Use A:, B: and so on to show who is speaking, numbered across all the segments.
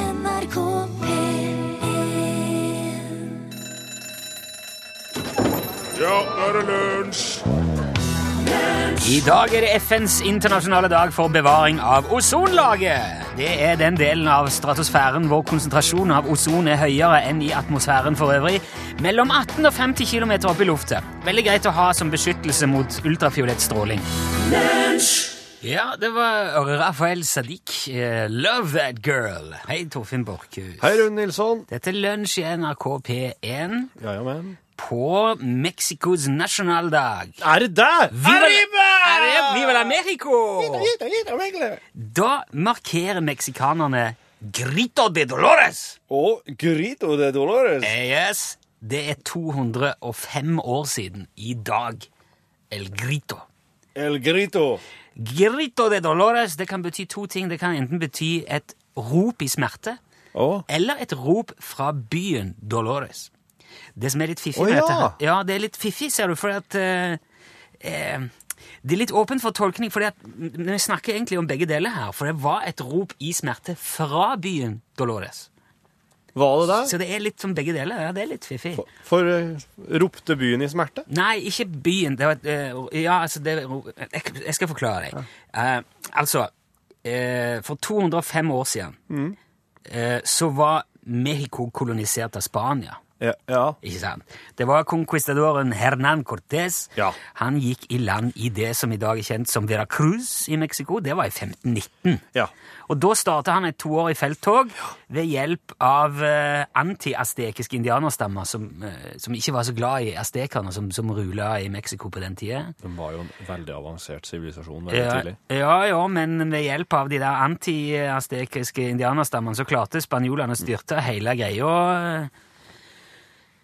A: NRK P1
B: Ja, nå er det lunsj!
C: I dag er det FNs internasjonale dag for bevaring av ozonlaget. Det er den delen av stratosfæren hvor konsentrasjonen av ozon er høyere enn i atmosfæren for øvrig, mellom 18 og 50 km opp i luftet. Veldig greit å ha som beskyttelse mot ultrafiolett stråling. Ja, det var Rafael Sadiq. eh, Love That Girl. Hei, Torfinn Borchhus.
B: Hei, Rune Nilsson.
C: Dette er Lunsj i NRK P1
B: Ja, ja, men.
C: på Mexicos nasjonaldag.
B: Er det der?
C: Viva, Arriba! Viva la Mexico! Da markerer meksikanerne Grito de Dolores.
B: Og Grito de Dolores.
C: Eh, Yes, Det er 205 år siden i dag. El Grito.
B: El Grito.
C: Grito de Dolores det kan bety to ting. Det kan enten bety et rop i smerte
B: Å.
C: eller et rop fra byen Dolores. Det som er litt fiffig
B: Å,
C: med
B: ja.
C: dette her Ja, det er litt fiffig, ser du, fordi at eh, eh, Det er litt åpent for tolkning, fordi at vi snakker egentlig om begge deler her. For det var et rop i smerte fra byen Dolores.
B: Var det der?
C: Så det er litt som begge deler. Ja, det er litt fiffig.
B: For, for eh, ropte byen i smerte?
C: Nei, ikke byen. Det var et, eh, ja, altså det, jeg, jeg skal forklare deg. Eh, altså, eh, for 205 år siden
B: Mm.
C: eh, så var Mexico kolonisert av Spania.
B: Ja. ja.
C: Ikke sant? Det var conquistadoren Hernan Cortés.
B: Ja.
C: Han gikk i land i det som i dag er kjent som Veracruz i Mexico. Det var i 1519.
B: Ja.
C: Og da starta han et toårig felttog ved hjelp av eh, anti-astekiske indianerstammer som, eh, som ikke var så glad i astekerne som, som rula i Mexico på den tida.
B: Den var jo en veldig avansert sivilisasjon
C: Ja, ja, ja, men ved hjelp av de der anti-astekiske indianerstammene så klarte spanjolene å styrte hele greia eh,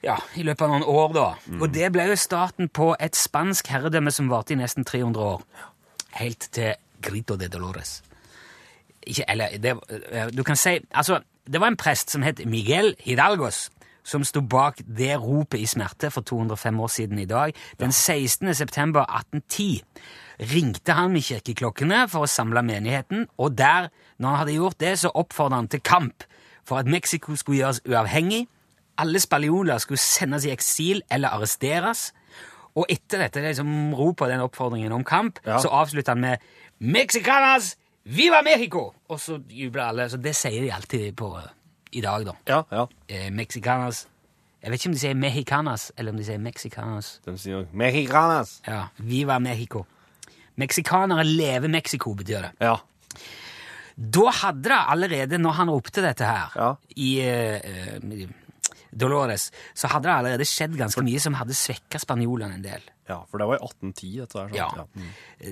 C: ja, i løpet av noen år, da. Og det ble jo starten på et spansk herredømme som varte i nesten 300 år. Helt til Grito de Dolores. Ikke, eller det, eh, Du kan si Altså, det var en prest som het Miguel Hidalgos. Som sto bak det ropet i smerte for 205 år siden i dag. Den 16. september 1810 ringte han med kirkeklokkene for å samle menigheten, og der, når han hadde gjort det, så oppfordret han til kamp for at Mexico skulle gjøres uavhengig, alle spanjoler skulle sendes i eksil eller arresteres. Og etter dette liksom, ropet og den oppfordringen om kamp,
B: Ja.
C: så avslutta han med 'Mexicanas viva Mexico!' Og så jubler alle. Så det sier de alltid på, eh, i dag, da.
B: Ja, ja.
C: Eh, Mexicanas Jeg vet ikke om de sier Mexicanas, eller om de sier Mexicanas.
B: De sier jo Mexicanas.
C: Ja, Viva Mexico. Meksikanere lever Mexico, betyr det.
B: Ja.
C: Da hadde det allerede, når han ropte dette her
B: Ja.
C: i eh, eh, Dolores, så hadde det allerede skjedd ganske mye som hadde svekka spanjolene en del.
B: ja. For det var i 1810, dette der. sant?
C: Ja. Eh,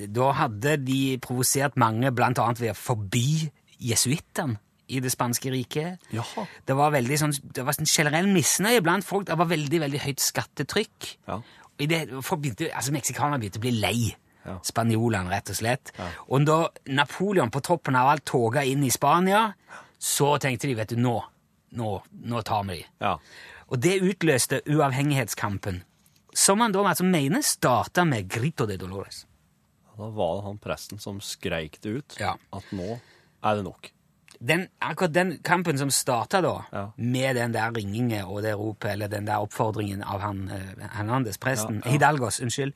B: Mm.
C: Da hadde de provosert mange, blant annet ved å forby jesuittene i det spanske riket.
B: Jaha.
C: Det var, veldig sånn, det var sånn generell misnøye blant folk. Det var veldig veldig høyt skattetrykk.
B: Ja.
C: Og I det, folk begynte, altså Meksikanerne begynte å bli lei
B: Ja.
C: spanjolene, rett og slett. Og da Napoleon på toppen av alt toga inn i Spania, så tenkte de vet du, nå, nå, nå tar vi de.
B: Ja.
C: Og det utløste uavhengighetskampen, som man da altså mener starta med Grito de Dolores.
B: Da var det han presten som skreik det ut
C: Ja.
B: at nå er det nok.
C: den, akkurat den kampen som starta da,
B: Ja.
C: med den der ringingen og det ropet, eller den der oppfordringen av han eh, Hernandez, presten,
B: Ja, ja.
C: Hidalgos, unnskyld,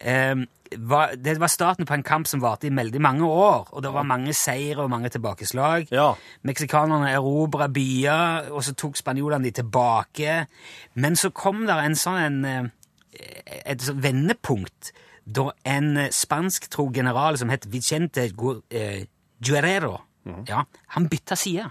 C: eh, var, det var starten på en kamp som varte i veldig mange år, og det var mange seire og mange tilbakeslag.
B: Ja.
C: Meksikanerne erobra byer, og så tok spanjolene de tilbake. Men så kom der en sånn en, eh, et sånn vendepunkt da en eh, spansktrog general som het Vicente Gu- eh, Guerrero, ja, han bytta side.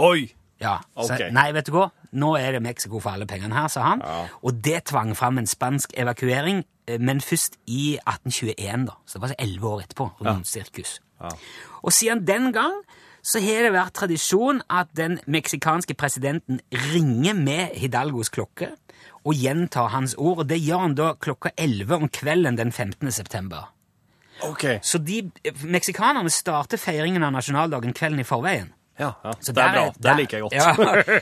B: Oi!
C: Ja, så,
B: Ok.
C: Nei, vet du hva? Nå er det Mexico for alle pengene her, sa han.
B: Ja.
C: Og det tvang fram en spansk evakuering, eh, men først i 1821, da. Så det var altså elleve år etterpå. Rundt sirkus. Og siden den gang så har det vært tradisjon at den meksikanske presidenten ringer med Hidalgos klokke og gjentar hans ord, og det gjør han da klokka 11 om kvelden den 15. september.
B: Ok.
C: Så de, eh, meksikanerne starter feiringen av nasjonaldagen kvelden i forveien.
B: Ja, ja.
C: Så
B: det er
C: der
B: bra.
C: der-
B: det liker jeg godt.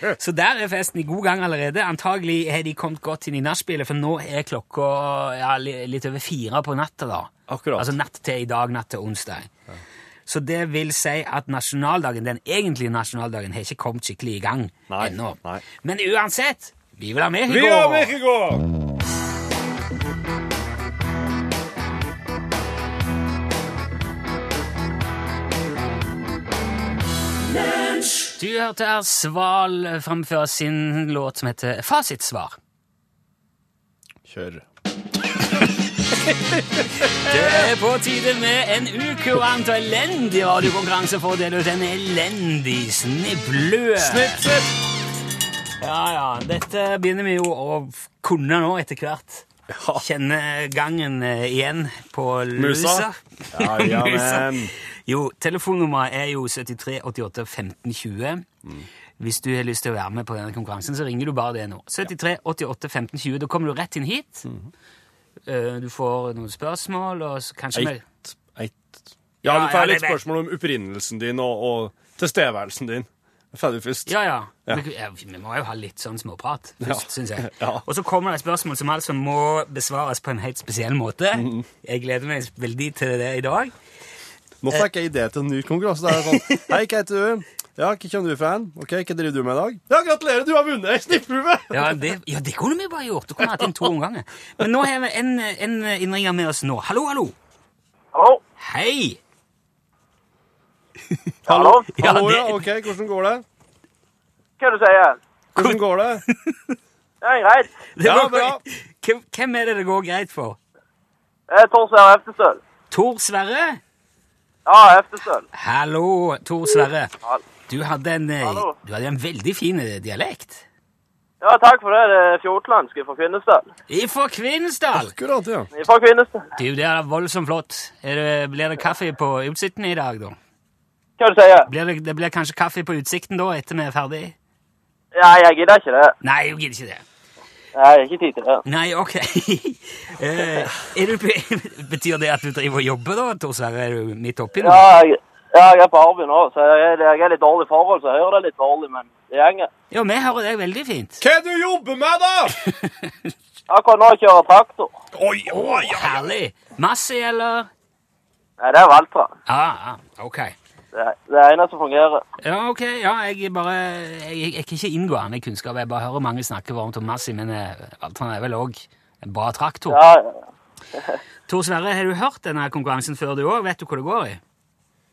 C: Ja. Så der er festen i god gang allerede. Antagelig har de kommet godt inn i nachspielet, for nå er klokka ja, li- litt over fire på natta. da.
B: Akkurat.
C: Altså natt til i dag, natt til onsdag. Så det vil si at nasjonaldagen, den egentlige nasjonaldagen har ikke kommet skikkelig i gang
B: Nei,
C: ennå.
B: nei.
C: Men uansett Viva Mexico!
B: Mexico!
C: Du hørte her Sval framføre sin låt som heter Fasitsvar.
B: Kjør.
C: Det er på tide med en ukurant og elendig radiokonkurranse for å dele ut en elendig snibblue.
B: snipp!
C: Ja, ja. Dette begynner vi jo å kunne nå etter hvert.
B: Ja.
C: Kjenne gangen eh, igjen på lusa.
B: Musa. Ja, ja,
C: Musa.
B: men.
C: Jo, telefonnummeret er jo 73 88 15 20.
B: Mm.
C: Hvis du har lyst til å være med på denne konkurransen, så ringer du bare det nå. 73 88 15 20. Da kommer du rett inn hit.
B: Mm.
C: Eh, Du får noen spørsmål, og så kanskje vi-
B: Eit, eit. Ja,
C: Ja,
B: du får
C: ja,
B: litt
C: det-
B: spørsmål om opprinnelsen din og, og tilstedeværelsen din. Ferdig først.
C: Ja, ja.
B: Ja.
C: Men, ja, Vi må jo ha litt sånn småprat først, synes jeg.
B: Ja.
C: Og så kommer det et spørsmål som altså må besvares på en helt spesiell måte.
B: Mm.
C: Jeg gleder meg veldig til det i dag.
A: Nå
C: eh.
A: fikk jeg idé til en ny konkurranse. Der jeg sånn, Hei, hva heter du? Ja, hva kommer du fra? hen? Ok, Hva driver du med i dag? Ja, gratulerer, du har vunnet ei snipphue!
C: Ja, det, ja, det kunne vi bare gjort. Du kunne hatt inn to omganger. Men nå har vi en, en innringer med oss nå. Hallo, hallo.
D: Hallo?
C: Hei!
D: Hallo?
C: Ja,
A: Hallo,
C: det-
A: ja, ok, hvordan går det?
D: Hva er det du sier?
A: Hvordan går det?
D: Det er greit.
C: Det
A: Ja,
C: var-
A: bra.
C: Hvem, hvem er det det går greit for?
D: Jeg er Tors her Eftestøl.
C: Tor Sverre?
D: Ja, Eftestøl.
C: Hallo, Tor Sverre.
D: Hall-
C: Du hadde en, eh,
D: Hallo.
C: du hadde en veldig fin eh, dialekt.
D: Ja, takk for det. Det er fjortlandsk fra Kvinesdal.
C: Ifra Kvinesdal.
A: Akkurat, ja.
D: Fra Kvinesdal.
C: Du, det er voldsomt flott. Er det, blir det kaffe på Utsikten i dag, da?
D: Hva er det du sier?
C: Blir det, det blir kanskje kaffe på Utsikten da, etter vi er ferdig?
D: Ja, jeg gidder ikke det.
C: Nei, jeg gidder ikke det.
D: Jeg har ikke tid til det.
C: Nei, ok. Eh, er du, betyr det at du driver og jobber da, Tor Sverre? Er du midt oppi nå?
D: Ja, jeg, ja, jeg er på arbeid nå, så jeg, er- jeg er litt dårlig i forhold, så jeg hører det litt dårlig, men det gjenger.
C: Ja, vi hører deg veldig fint.
A: Hva du jobber med, da?
D: Akkurat nå kjører jeg traktor.
A: Oi, oi, oi.
C: Herlig. Masse, eller?
D: Nei, det er Valtra.
C: Ja, ah, ok.
D: Det er det er ene som fungerer.
C: Ja, ok. Ja, jeg er bare Jeg, jeg er ikke inngående i kunnskap. Jeg bare hører mange snakke varmt om Massi, men eh, Valtran er vel òg en bra traktor.
D: Ja, ja, ja.
C: Tor Sverre, har du hørt denne konkurransen før, du òg? Vet du hva det går i?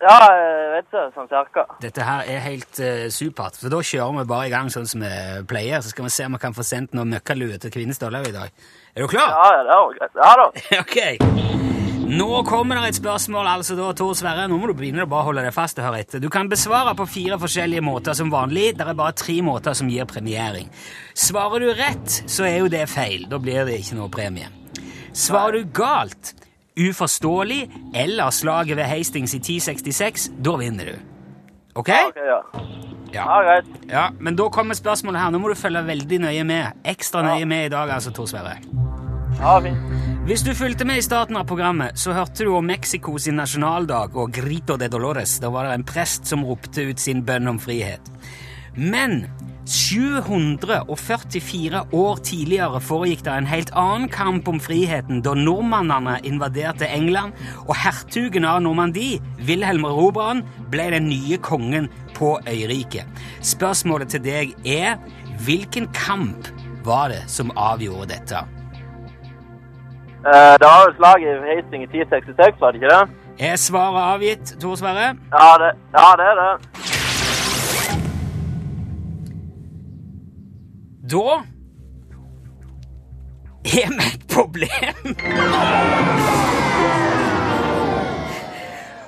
D: ja, jeg vet ikke, sånn cirka.
C: Dette her er helt eh, supert. Så da kjører vi bare i gang sånn som vi pleier. Så skal vi se om vi kan få sendt noen møkkalue til Kvinesdal òg i dag. Er du klar?
D: Ja, ja, det er jo greit. Ja da.
C: Ok. Nå kommer det et spørsmål, altså da, Tor Sverre. Nå må du begynne å bare holde deg fast og høre etter. Du kan besvare på fire forskjellige måter som vanlig. Det er bare tre måter som gir premiering. Svarer du rett, så er jo det feil. Da blir det ikke noe premie. Svarer du galt, uforståelig eller slaget ved Hastings i 1066, da vinner du. Ok?
D: Ok, ja. Ja,
C: Ja.
D: greit.
C: ja. Men da kommer spørsmålet her. Nå må du følge veldig nøye med. Ekstra nøye med i dag, altså, Tor Sverre.
D: Ja, fint.
C: Hvis du fulgte med i starten av programmet, så hørte du om Mexico sin nasjonaldag og Grito de Dolores. Da var det en prest som ropte ut sin bønn om frihet. Men 744 år tidligere foregikk det en helt annen kamp om friheten da nordmennene invaderte England, og hertugen av Normandie, Wilhelm Robrand, ble den nye kongen på øyriket. Spørsmålet til deg er hvilken kamp var det som avgjorde dette?
D: Eh, Det var jo slaget i Hastings i 1066, var det ikke det?
C: Er svaret avgitt, Tor Sverre?
D: Ja, det, ja, det er det.
C: Da er vi et problem.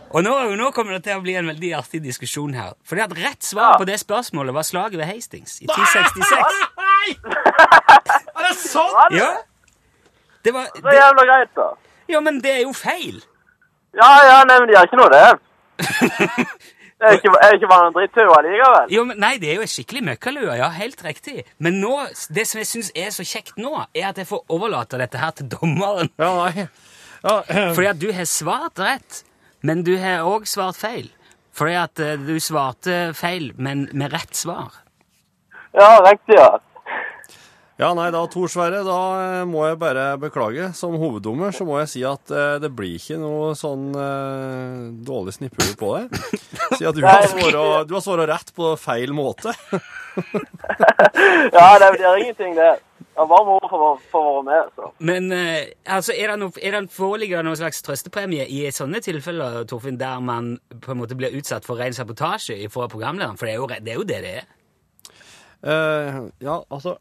C: Og nå, nå kommer det til å bli en veldig artig diskusjon her. Fordi at rett svar
D: Ja.
C: på det spørsmålet var slaget ved Hastings i 1066.
A: Er det sant?
D: Ja, det
C: Ja. Det var
E: Altså,
D: det er
C: det,
D: jævla greit, da.
C: Ja, men det er jo feil.
D: Ja, ja, nei, men de gjør ikke noe, det. Det er ikke, er ikke bare en drittur allikevel.
C: Jo, men, nei, det er jo en skikkelig møkkalue. Ja, helt riktig. Men nå, det som jeg syns er så kjekt nå, er at jeg får overlate dette her til dommeren.
A: Ja, nei. Ja, eh,
C: Fordi at du har svart rett, men du har òg svart feil. Fordi at eh, du svarte feil, men med rett svar.
D: Ja, riktig, ja.
A: Ja, nei, da, Tor Sverre, da eh, må jeg bare beklage. Som hoveddommer så må jeg si at eh, det blir ikke noe sånn eh, dårlig snipphue på det. Si at du har svara- du har svara rett på feil måte.
E: Ja, det, det er ingenting, det. Jeg var moro for, å- for å være med, så.
C: Men eh, altså, er det, noe, er det foreligger det noen slags trøstepremie i sånne tilfeller, Torfinn, der man på en måte blir utsatt for ren sabotasje fra programlederen? For det er jo re- det er jo det, det er.
A: Eh, ja, altså,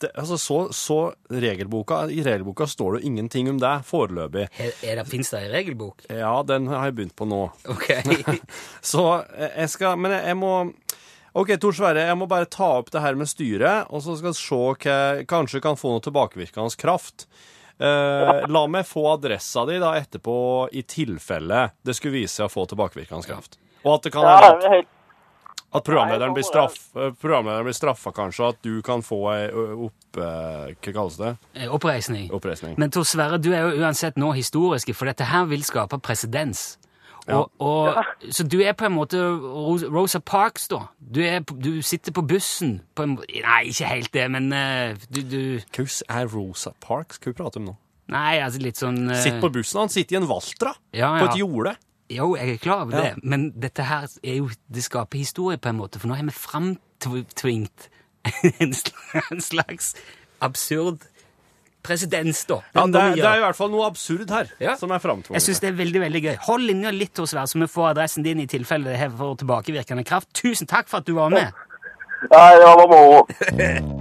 A: det, altså så, så regelboka I regelboka står det jo ingenting om det foreløpig.
C: Er, er det Fins det ei regelbok?
A: Ja, den har jeg begynt på nå.
C: Ok.
A: Så eh, jeg skal Men jeg, jeg må OK, Tor Sverre, jeg må bare ta opp det her med styret, og så skal vi se hva Kanskje kan få noe tilbakevirkende kraft. Eh, la meg få adressa di da etterpå, i tilfelle det skulle vise seg å få tilbakevirkende kraft. Og at det kan
E: Ja,
A: være
E: det er helt,
A: at programlederen blir,
E: Nei, jeg
A: straff, eh, programlederen blir straffa, kanskje, og at du kan få ei ø, opp... eh, Hva kalles det?
C: Eh, Oppreisning.
A: Oppreisning.
C: Men Tor Sverre, du er jo uansett nå historisk, for dette her vil skape presedens. Og, og, Så du er på en måte Ro- Rosa Parks, da. Du, er, på- du sitter på bussen på en, må- Nei, ikke helt det, men eh, du, du
A: Hvordan er Rosa Parks? Hva prater vi om nå?
C: Nei, altså litt sånn eh,
A: Sitt på bussen, han sitter i en Valtra.
C: Ja,
A: På
C: ja.
A: et jorde.
C: Jo, jeg er klar over
A: Ja.
C: det, men dette her er jo, det skaper historie på en måte, for nå har vi framtvingt en sl- en slags absurd presedens, da.
A: Ja,
C: Den
A: det,
C: må
A: er- det er
C: vi
A: i
C: gjøre.
A: hvert fall noe absurd her,
C: Ja.
A: som er
C: Jeg syns
A: framtvunget.
C: det er veldig veldig gøy. Hold linja litt, Tor Sverre, så vi får adressen din i tilfelle det her får tilbakevirkende kraft. Tusen takk for at du var med.
E: ja, det var moro.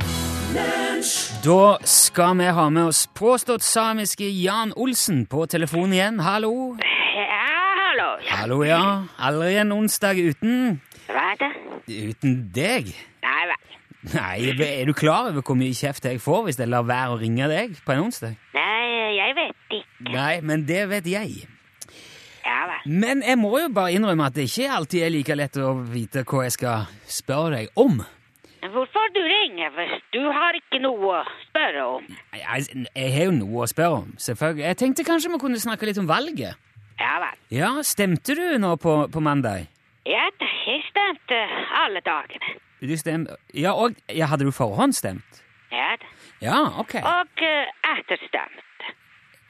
C: Da skal vi ha med oss påstått samiske Jan Olsen på telefon igjen. Hallo.
D: Ja, hallo. Ja,
C: Hallo, ja. Aldri en onsdag uten
D: hva er det?
C: Uten deg.
D: Nei vel.
C: Nei, er du klar over hvor mye kjeft jeg får hvis jeg lar være å ringe deg på en onsdag?
D: Nei, jeg vet ikke.
C: Nei, men det vet jeg.
D: Ja vel.
C: Men jeg må jo bare innrømme at det ikke alltid er like lett å vite hva jeg skal spørre deg om.
D: Hvorfor du ringer hvis du har ikke noe å spørre om?
C: Nei, altså, Jeg har jo noe å spørre om, selvfølgelig. Jeg tenkte kanskje vi kunne snakke litt om valget.
D: Ja vel.
C: Ja, stemte du nå på, på mandag?
D: Ja, det har stemt eh, alle dagene.
C: Du stem... Ja, og ja, hadde du forhåndsstemt?
D: Ja da.
C: Ja, ok.
D: Og eh, etterstemt.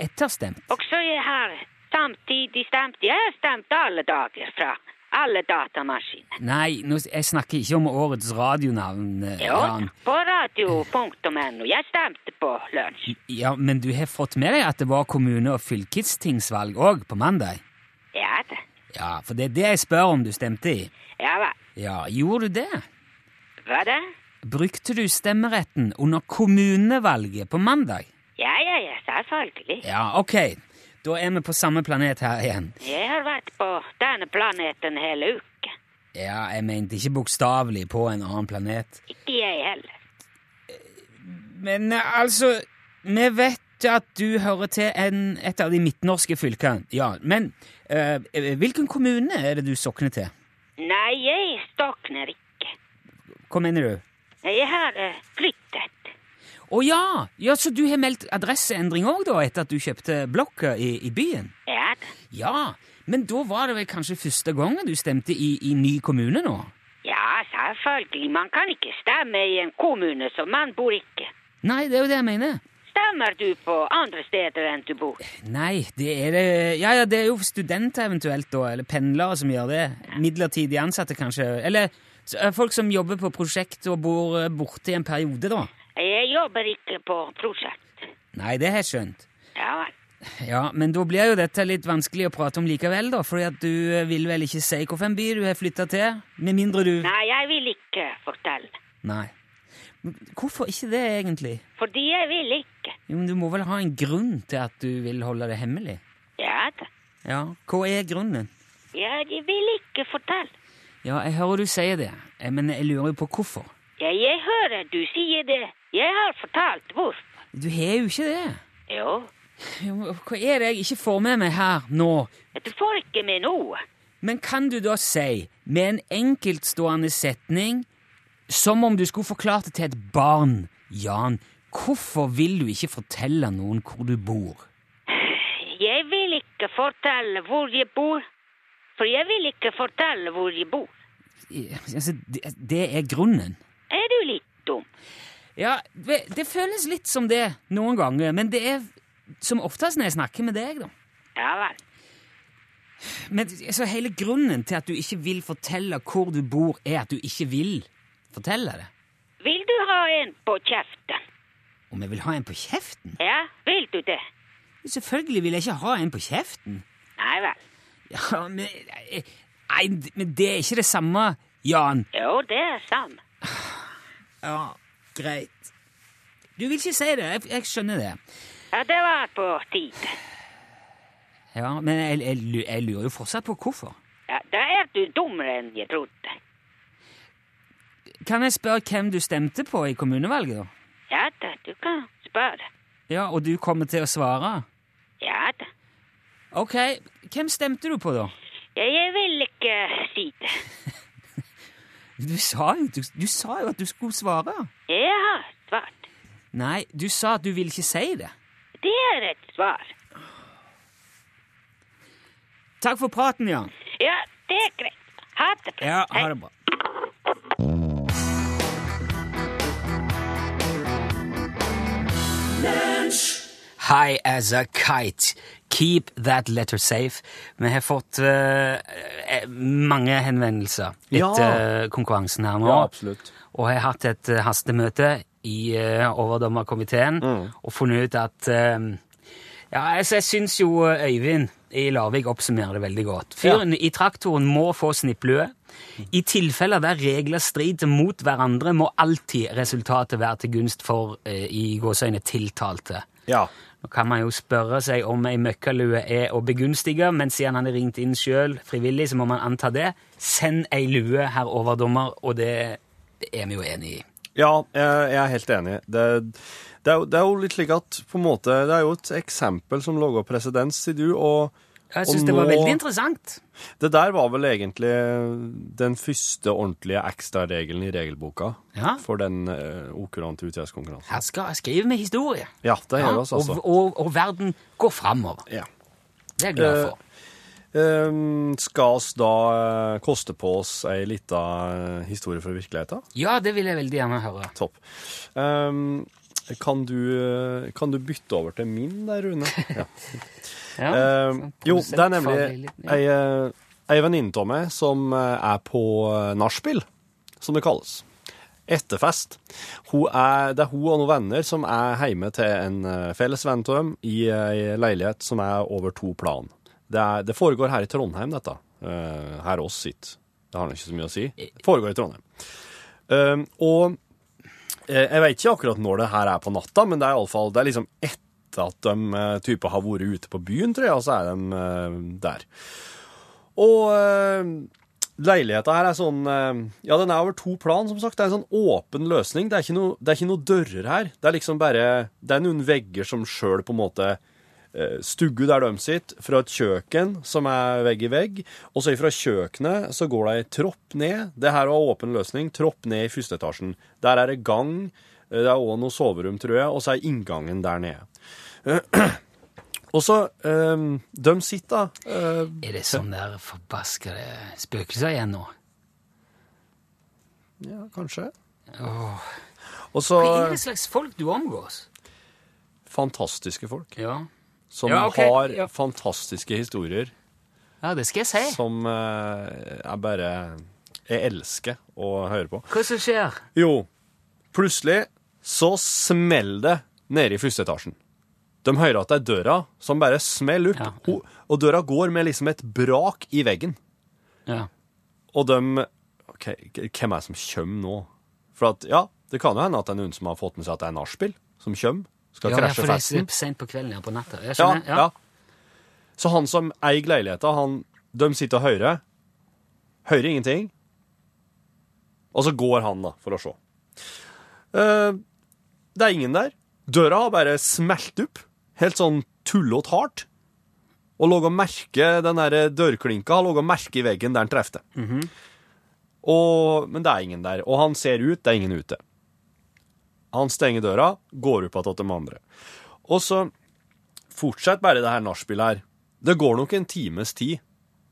C: Etterstemt.
D: Og så jeg har samtidig stemt. Jeg har stemt alle dager fra alle datamaskiner.
C: Nei, nå, jeg snakker ikke om årets radionavn, eh,
D: Jo,
C: Jan.
D: på radio.no. Jeg stemte på lunsj.
C: Ja, men du har fått med deg at det var kommune- og fylkestingsvalg òg på mandag?
D: Ja da.
C: Ja, for det er det jeg spør om du stemte i.
D: Ja vel.
C: Ja, gjorde du det?
D: Hva da?
C: Brukte du stemmeretten under kommunevalget på mandag?
D: Ja, ja, ja, selvfølgelig.
C: Ja, ok. Da er vi på samme planet her igjen.
D: Jeg har vært på denne planeten hele uke.
C: Ja, jeg mente ikke bokstavelig på en annen planet.
D: Ikke jeg heller.
C: Men eh, altså, vi vet at du hører til en, et av de midtnorske fylkene. Ja, men eh, hvilken kommune er det du sokner til?
D: Nei, jeg stokner ikke.
C: Hva mener du?
D: Jeg har eh, flyttet.
C: Å ja! ja! Så du har meldt adresseendring òg, da, etter at du kjøpte blokka i, i byen?
D: Ja da.
C: Ja, men da var det vel kanskje første gangen du stemte i, i ny kommune nå?
D: Ja, selvfølgelig. Man kan ikke stemme i en kommune som man bor ikke.
C: Nei, det er jo det jeg mener.
D: Stemmer du på andre steder enn du bor?
C: Nei, det er det Ja, ja, det er jo studenter eventuelt, da, eller pendlere som gjør det. Midlertidig ansatte, kanskje. Eller s- eh, folk som jobber på prosjekt og bor eh, borte i en periode, da.
D: Jeg jobber ikke på prosjekt.
C: Nei, det har jeg skjønt.
D: Ja vel.
C: Ja, men da blir jo dette litt vanskelig å prate om likevel, da, fordi at du eh, vil vel ikke si hvilken by du har flytta til? Med mindre du
D: Nei, jeg vil ikke fortelle.
C: Nei. Men Hvorfor ikke det, egentlig?
D: Fordi jeg vil ikke.
C: Jo, men Du må vel ha en grunn til at du vil holde det hemmelig?
D: Ja da.
C: Ja, Hva er grunnen?
D: Ja, jeg vil ikke fortelle.
C: Ja, Jeg hører du sier det, eh, men jeg lurer jo på hvorfor.
D: Ja, jeg hører du sier det. Jeg har fortalt hvorfor.
C: Du har jo ikke det.
D: Jo,
C: Jo, Hva er det jeg ikke får med meg her nå?
D: du får ikke med noe.
C: Men kan du da si, med en enkeltstående setning, som om du skulle forklart det til et barn, Jan, hvorfor vil du ikke fortelle noen hvor du bor?
D: Jeg vil ikke fortelle hvor jeg bor, for jeg vil ikke fortelle hvor jeg bor.
C: Eh, Altså, det, det er grunnen.
D: Er du litt dum?
C: Ja, det det føles litt som det noen ganger, men det er som oftest når jeg snakker med deg, da.
F: Ja vel.
C: Men altså, hele grunnen til at du ikke vil fortelle hvor du bor, er at du ikke vil fortelle det.
F: Vil du ha en på kjeften?
C: Om jeg vil ha en på kjeften?
F: Ja, vil du det?
C: Selvfølgelig vil jeg ikke ha en på kjeften.
F: Nei vel.
C: Ja, men, nei, men det er ikke det samme, Jan.
F: Jo, det er samme.
C: Ja, greit. Du vil ikke si det. Jeg, jeg skjønner det.
F: Ja, det var på tide.
C: Ja, Men jeg, jeg, lu- jeg lurer jo fortsatt på hvorfor.
F: Ja, da er du dummere enn jeg trodde.
C: Kan jeg spørre hvem du stemte på i kommunevalget, da?
F: Ja da, du kan spørre.
C: Ja, Og du kommer til å svare?
F: Ja da.
C: Ok, hvem stemte du på, da?
F: Ja, jeg vil ikke si det.
C: Du sa jo, du, du sa jo at du skulle svare.
F: Jeg har svart.
C: Nei, du sa at du ville ikke si det.
F: Det er et svar.
C: Takk for praten, Jan.
F: Ja, det er greit. Ha det bra.
C: Ja,
F: Hei.
C: ha det bra. High as a kite. Keep that letter safe. Vi har fått eh, eh, mange henvendelser
A: Ja.
C: etter eh, konkurransen her nå.
A: Ja, absolutt.
C: Og har hatt et eh, hastemøte i eh, overdommerkomiteen
A: Mm.
C: og funnet ut at eh, Ja, altså, jeg syns jo eh, Øyvind i Larvik oppsummerer det veldig godt. Fyren i traktoren må få snipplue. I tilfeller der regler strider mot hverandre, må alltid resultatet være til gunst for eh, i gåseøyne tiltalte.
A: Ja.
C: Nå kan man jo spørre seg om ei møkkalue er å begunstige, men siden han er ringt inn sjøl frivillig, så må man anta det. Send ei lue, herr overdommer, og det er vi jo enig i.
A: Ja, jeg, jeg er helt enig. Det, det, er jo, det er jo litt slik at på en måte, Det er jo et eksempel som lager presedens, sier du, og
C: Jeg
A: og
C: syns det var
A: nå-
C: veldig interessant.
A: Det der var vel egentlig den første ordentlige ekstraregelen i regelboka
C: Ja.
A: for den uh, okurante UTS-konkurransen.
C: Her skal jeg skrive med historie.
A: Ja, det gjør oss, altså.
C: og, og, og verden går framover.
A: Ja.
C: Det er jeg
A: Eh,
C: glad for.
A: Ehm, skal oss da eh, koste på oss ei lita eh, historie fra virkeligheten?
C: Ja, det vil jeg veldig gjerne høre.
A: Topp. Ehm, kan, du, eh, kan du bytte over til min der, Rune? Ja.
C: Ja,
A: Ehm,
C: sånn
A: jo, det er
C: produsentfaglig
A: nemlig
C: litt- ja.
A: ei, eh, ei venninne av meg som eh, er på eh, nachspiel, som det kalles. Etterfest. Hun er, det er hun og noen venner som er hjemme til en eh, felles venn av dem i ei leilighet som er over to plan. Det, er, det foregår her i Trondheim, dette. Eh, her oss sitt. Det har nå ikke så mye å si. Det foregår i Trondheim. Ehm, og Eh, Jeg vet ikke akkurat når det her er på natta, men det er iallfall Det er liksom etter at de eh, type har vært ute på byen, tror jeg, og så er de eh, der. Og eh, leiligheta her er sånn eh, Ja, den er over to plan, som sagt. Det er en sånn åpen løsning. Det er ikke noe, det er ikke noe dører her. Det er liksom bare Det er noen vegger som sjøl på en måte eh, Stugu der de sitter, fra et kjøkken som er vegg i vegg, og så ifra kjøkkenet så går det ei tropp ned. Det her var åpen løsning. Tropp ned i første etasjen. Der er det gang. eh, Det er òg noe soverom, tror jeg, og så er inngangen der nede. Og så eh, De sitter da. eh,
C: Er det sånn der forbaskede spøkelser igjen nå?
A: ja, kanskje.
C: Åh.
A: Og så eh,
C: Hva er det slags folk du omgås?
A: Fantastiske folk.
C: Ja.
A: Som
C: Ja, ok,
A: har
C: ja.
A: fantastiske historier
C: ja, det skal jeg si.
A: som eh, jeg bare Jeg elsker å høre på.
C: Hva som skjer?
A: Jo, plutselig så smeller det nede i første etasjen. De hører at det er døra som bare smeller opp,
C: Ja.
A: Ho- og døra går med liksom et brak i veggen.
C: Ja.
A: Og de Ok, hvem er det som kommer nå? For at, ja, det kan jo hende at det er noen som har fått med seg at det er nachspiel, som kommer. Skal
C: ja,
A: krasje
C: for det
A: festen.
C: er sent på kvelden her på natta. Jeg
A: Ja,
C: skjønner.
A: ja. Så han som eier leiligheta, han De sitter og hører. Hører ingenting. Og så går han, da, for å se. Eh, det er ingen der. Døra har bare smelt opp. Helt sånn tullete hardt. Og lå og merke den der dørklinka har lå og merke i veggen der den traff det. Og- Men det er ingen der. Og han ser ut, det er ingen ute. Han stenger døra, går opp igjen til de andre. Og så fortsett bare det her nachspielet her. Det går nok en times tid.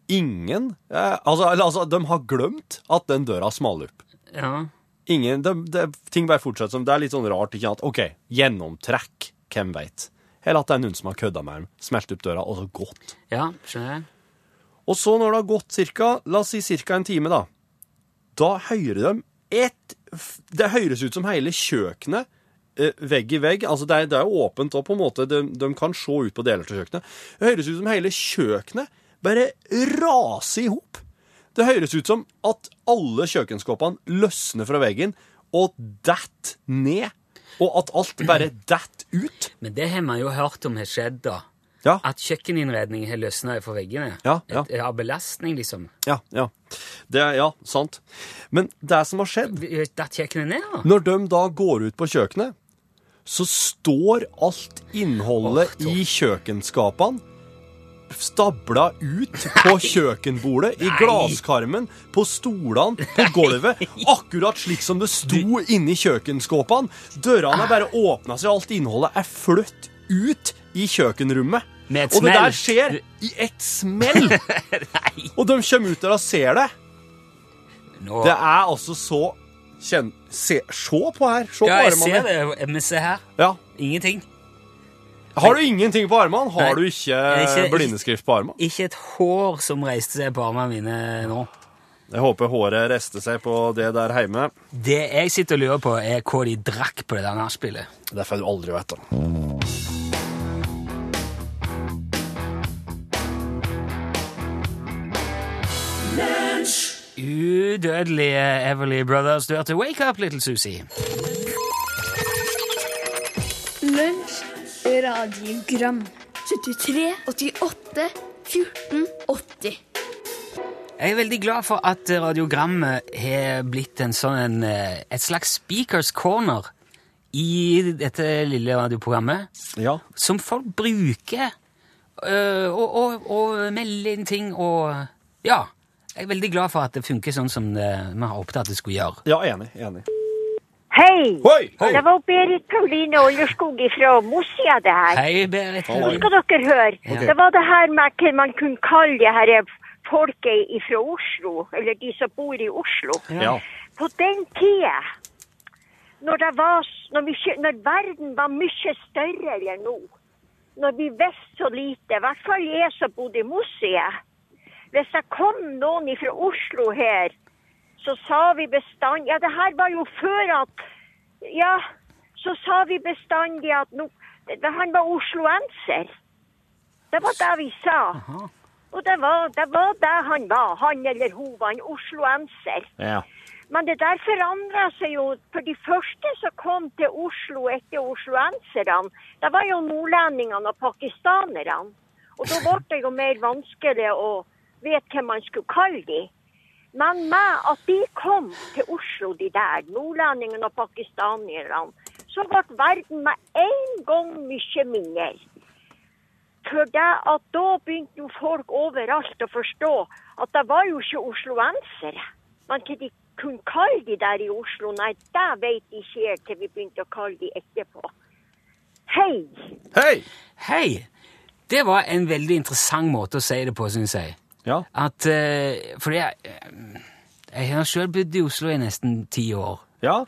A: Ingen eh, altså, eller, altså, de har glemt at den døra smalt opp.
C: Ja.
A: Ingen, det, det, ting bare fortsetter som Det er litt sånn rart. ikke sant? OK, gjennomtrekk. Hvem veit? Eller at det er noen som har kødda med dem, smelt opp døra, og så gått.
C: Ja, skjønner jeg.
A: Og så når det har gått cirka, la oss si cirka en time da, da hører de et, f- det høres ut som hele kjøkkenet, eh, vegg i vegg, altså det er, det er jo åpent da på en måte, de, de kan se ut på deler til kjøkkenet, det høres ut som hele kjøkkenet bare raser ihop. Det høres ut som at alle kjøkkenskåpene løsner fra veggen og dett ned, og at alt bare dett ut.
C: Men det har man jo hørt om har skjedd, da.
A: Ja.
C: At kjøkkeninnredningen har løsna fra veggene.
A: Ja, ja.
C: Et- Av belastning, liksom.
A: Ja, ja. Det, er- ja, sant. Men det som har skjedd,
C: Datt kjøkkenet ned, da?
A: Når de da går ut på kjøkkenet, så står alt innholdet
C: Åh, Tom.
A: i kjøkkenskapene stabla ut på kjøkkenbordet, i glasskarmen, på stolene, på gulvet. Akkurat slik som det sto inni kjøkkenskåpene. Dørene er bare åpna seg, alt innholdet er flytt ut i kjøkkenrommet.
C: Med et
A: Og det der
C: smell.
A: skjer i et smell! Og de kommer ut der og ser det.
C: Nå.
A: Det er altså så Kjenn... Se, se på her. Se
C: ja,
A: på
C: jeg
A: armene.
C: ser det. Men se her.
A: Ja.
C: Ingenting.
A: Har du ingenting på armene? Har
C: Nei.
A: du ikke,
C: Ikke-
A: blindeskrift på armene?
C: Ikke et hår som reiste seg på armene mine nå.
A: Jeg håper håret rester seg på det der hjemme.
C: Det jeg sitter og lurer på, er hva de drakk på det der nachspielet.
A: Det får du aldri vite.
C: Udødelige Everly Brothers, du hørte Wake Up Little Susie.
G: Lunsj, radiogram 73, 88, 14, 80
C: Jeg er veldig glad for at radiogrammet har blitt en sånn, en, eh, et slags speakers corner i dette lille radioprogrammet,
A: Ja.
C: som folk bruker, øh, og, og, og melder inn ting, og ja, jeg er veldig glad for at det funker sånn som det, vi har håpet at det skulle gjøre.
A: ja, enig. Enig.
H: Hei!
A: Hoi!
H: Det var Berit Pauline Olderskog fra Mosia, det her.
C: Hei, Berit.
A: Hallo.
H: Nå skal dere høre. Det var det her med hva man kunne kalle det her folket fra Oslo, eller de som bor i Oslo.
A: Ja.
H: På den tida, når, det var, s- når, mykje- når verden var mye større enn nå, når vi visste så lite, i hvert fall jeg som bodde i Mossia Hvis det kom noen fra Oslo her, så sa vi bestandig Ja, det her var jo før at Ja, så sa vi bestandig at nå det- det- Han var osloenser. Det var det vi sa. Og det var, det var det han var, han eller hun var en osloenser.
A: Ja.
H: Men det der forandra seg jo. For de første som kom til Oslo etter osloenserne, det var jo nordlendingene og pakistanerne. Og da ble det jo mer vanskelig å vite hvem man skulle kalle de. Men med at de kom til Oslo, de der, nordlendingene og pakistanerne, så ble verden med en gang mye mindre. For det at da begynte jo folk overalt å forstå at det var jo ikke osloensere. Men hva de kunne kalle de der i Oslo, nei, det vet ikke jeg til vi begynte å kalle de etterpå. Hei!
A: Hei!
C: Hei! Det var en veldig interessant måte å si det på, syns jeg.
A: Ja.
C: At, eh, fordi jeg, eh, jeg har sjøl bodd i Oslo i nesten ti år.
A: Ja.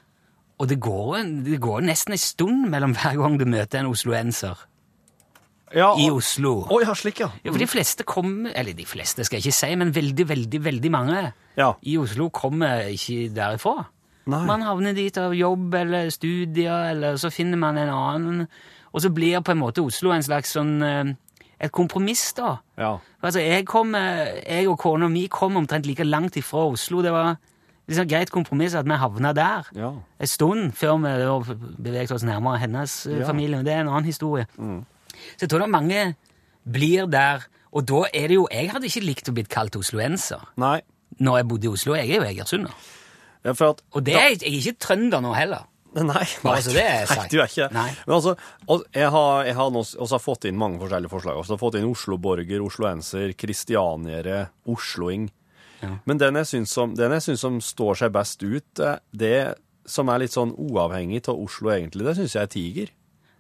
C: Og det går, en- det går nesten en stund mellom hver gang du møter en osloenser
A: ja.
C: i Oslo.
A: Oi, ja, slik, ja.
C: Ja, for de fleste kommer Eller de fleste skal jeg ikke si, men veldig, veldig veldig mange
A: Ja.
C: i Oslo kommer ikke derifra.
A: Nei.
C: Man havner dit av jobb eller studier, eller så finner man en annen. Og så blir på en måte Oslo en slags sånn eh, et kompromiss, da.
A: Ja.
C: Altså, jeg, kom, eh, jeg og kona mi kom omtrent like langt ifra Oslo. Det var liksom et greit kompromiss at vi havna der
A: Ja.
C: en stund før vi da beveget oss nærmere hennes eh, familie. men Det er en annen historie.
A: Mm.
C: Så jeg tror det er mange blir der, og da er det jo Jeg hadde ikke likt å blitt kalt osloenser
A: Nei.
C: når jeg bodde i Oslo. Jeg er jo egersunder.
A: Ja, for at
C: Og det er, jeg er ikke trønder nå heller.
A: Nei,
C: Bare så altså, det er
A: nei,
C: sagt.
A: du er ikke det.
C: Nei.
A: Men altså, al- jeg har, jeg har nå s- også fått inn mange forskjellige forslag. Også har fått inn Oslo-borger, osloenser, kristianiere, osloing. Men den jeg, syns som, den jeg syns som står seg best ut, eh, det som er litt sånn uavhengig av Oslo egentlig, det syns jeg er tiger.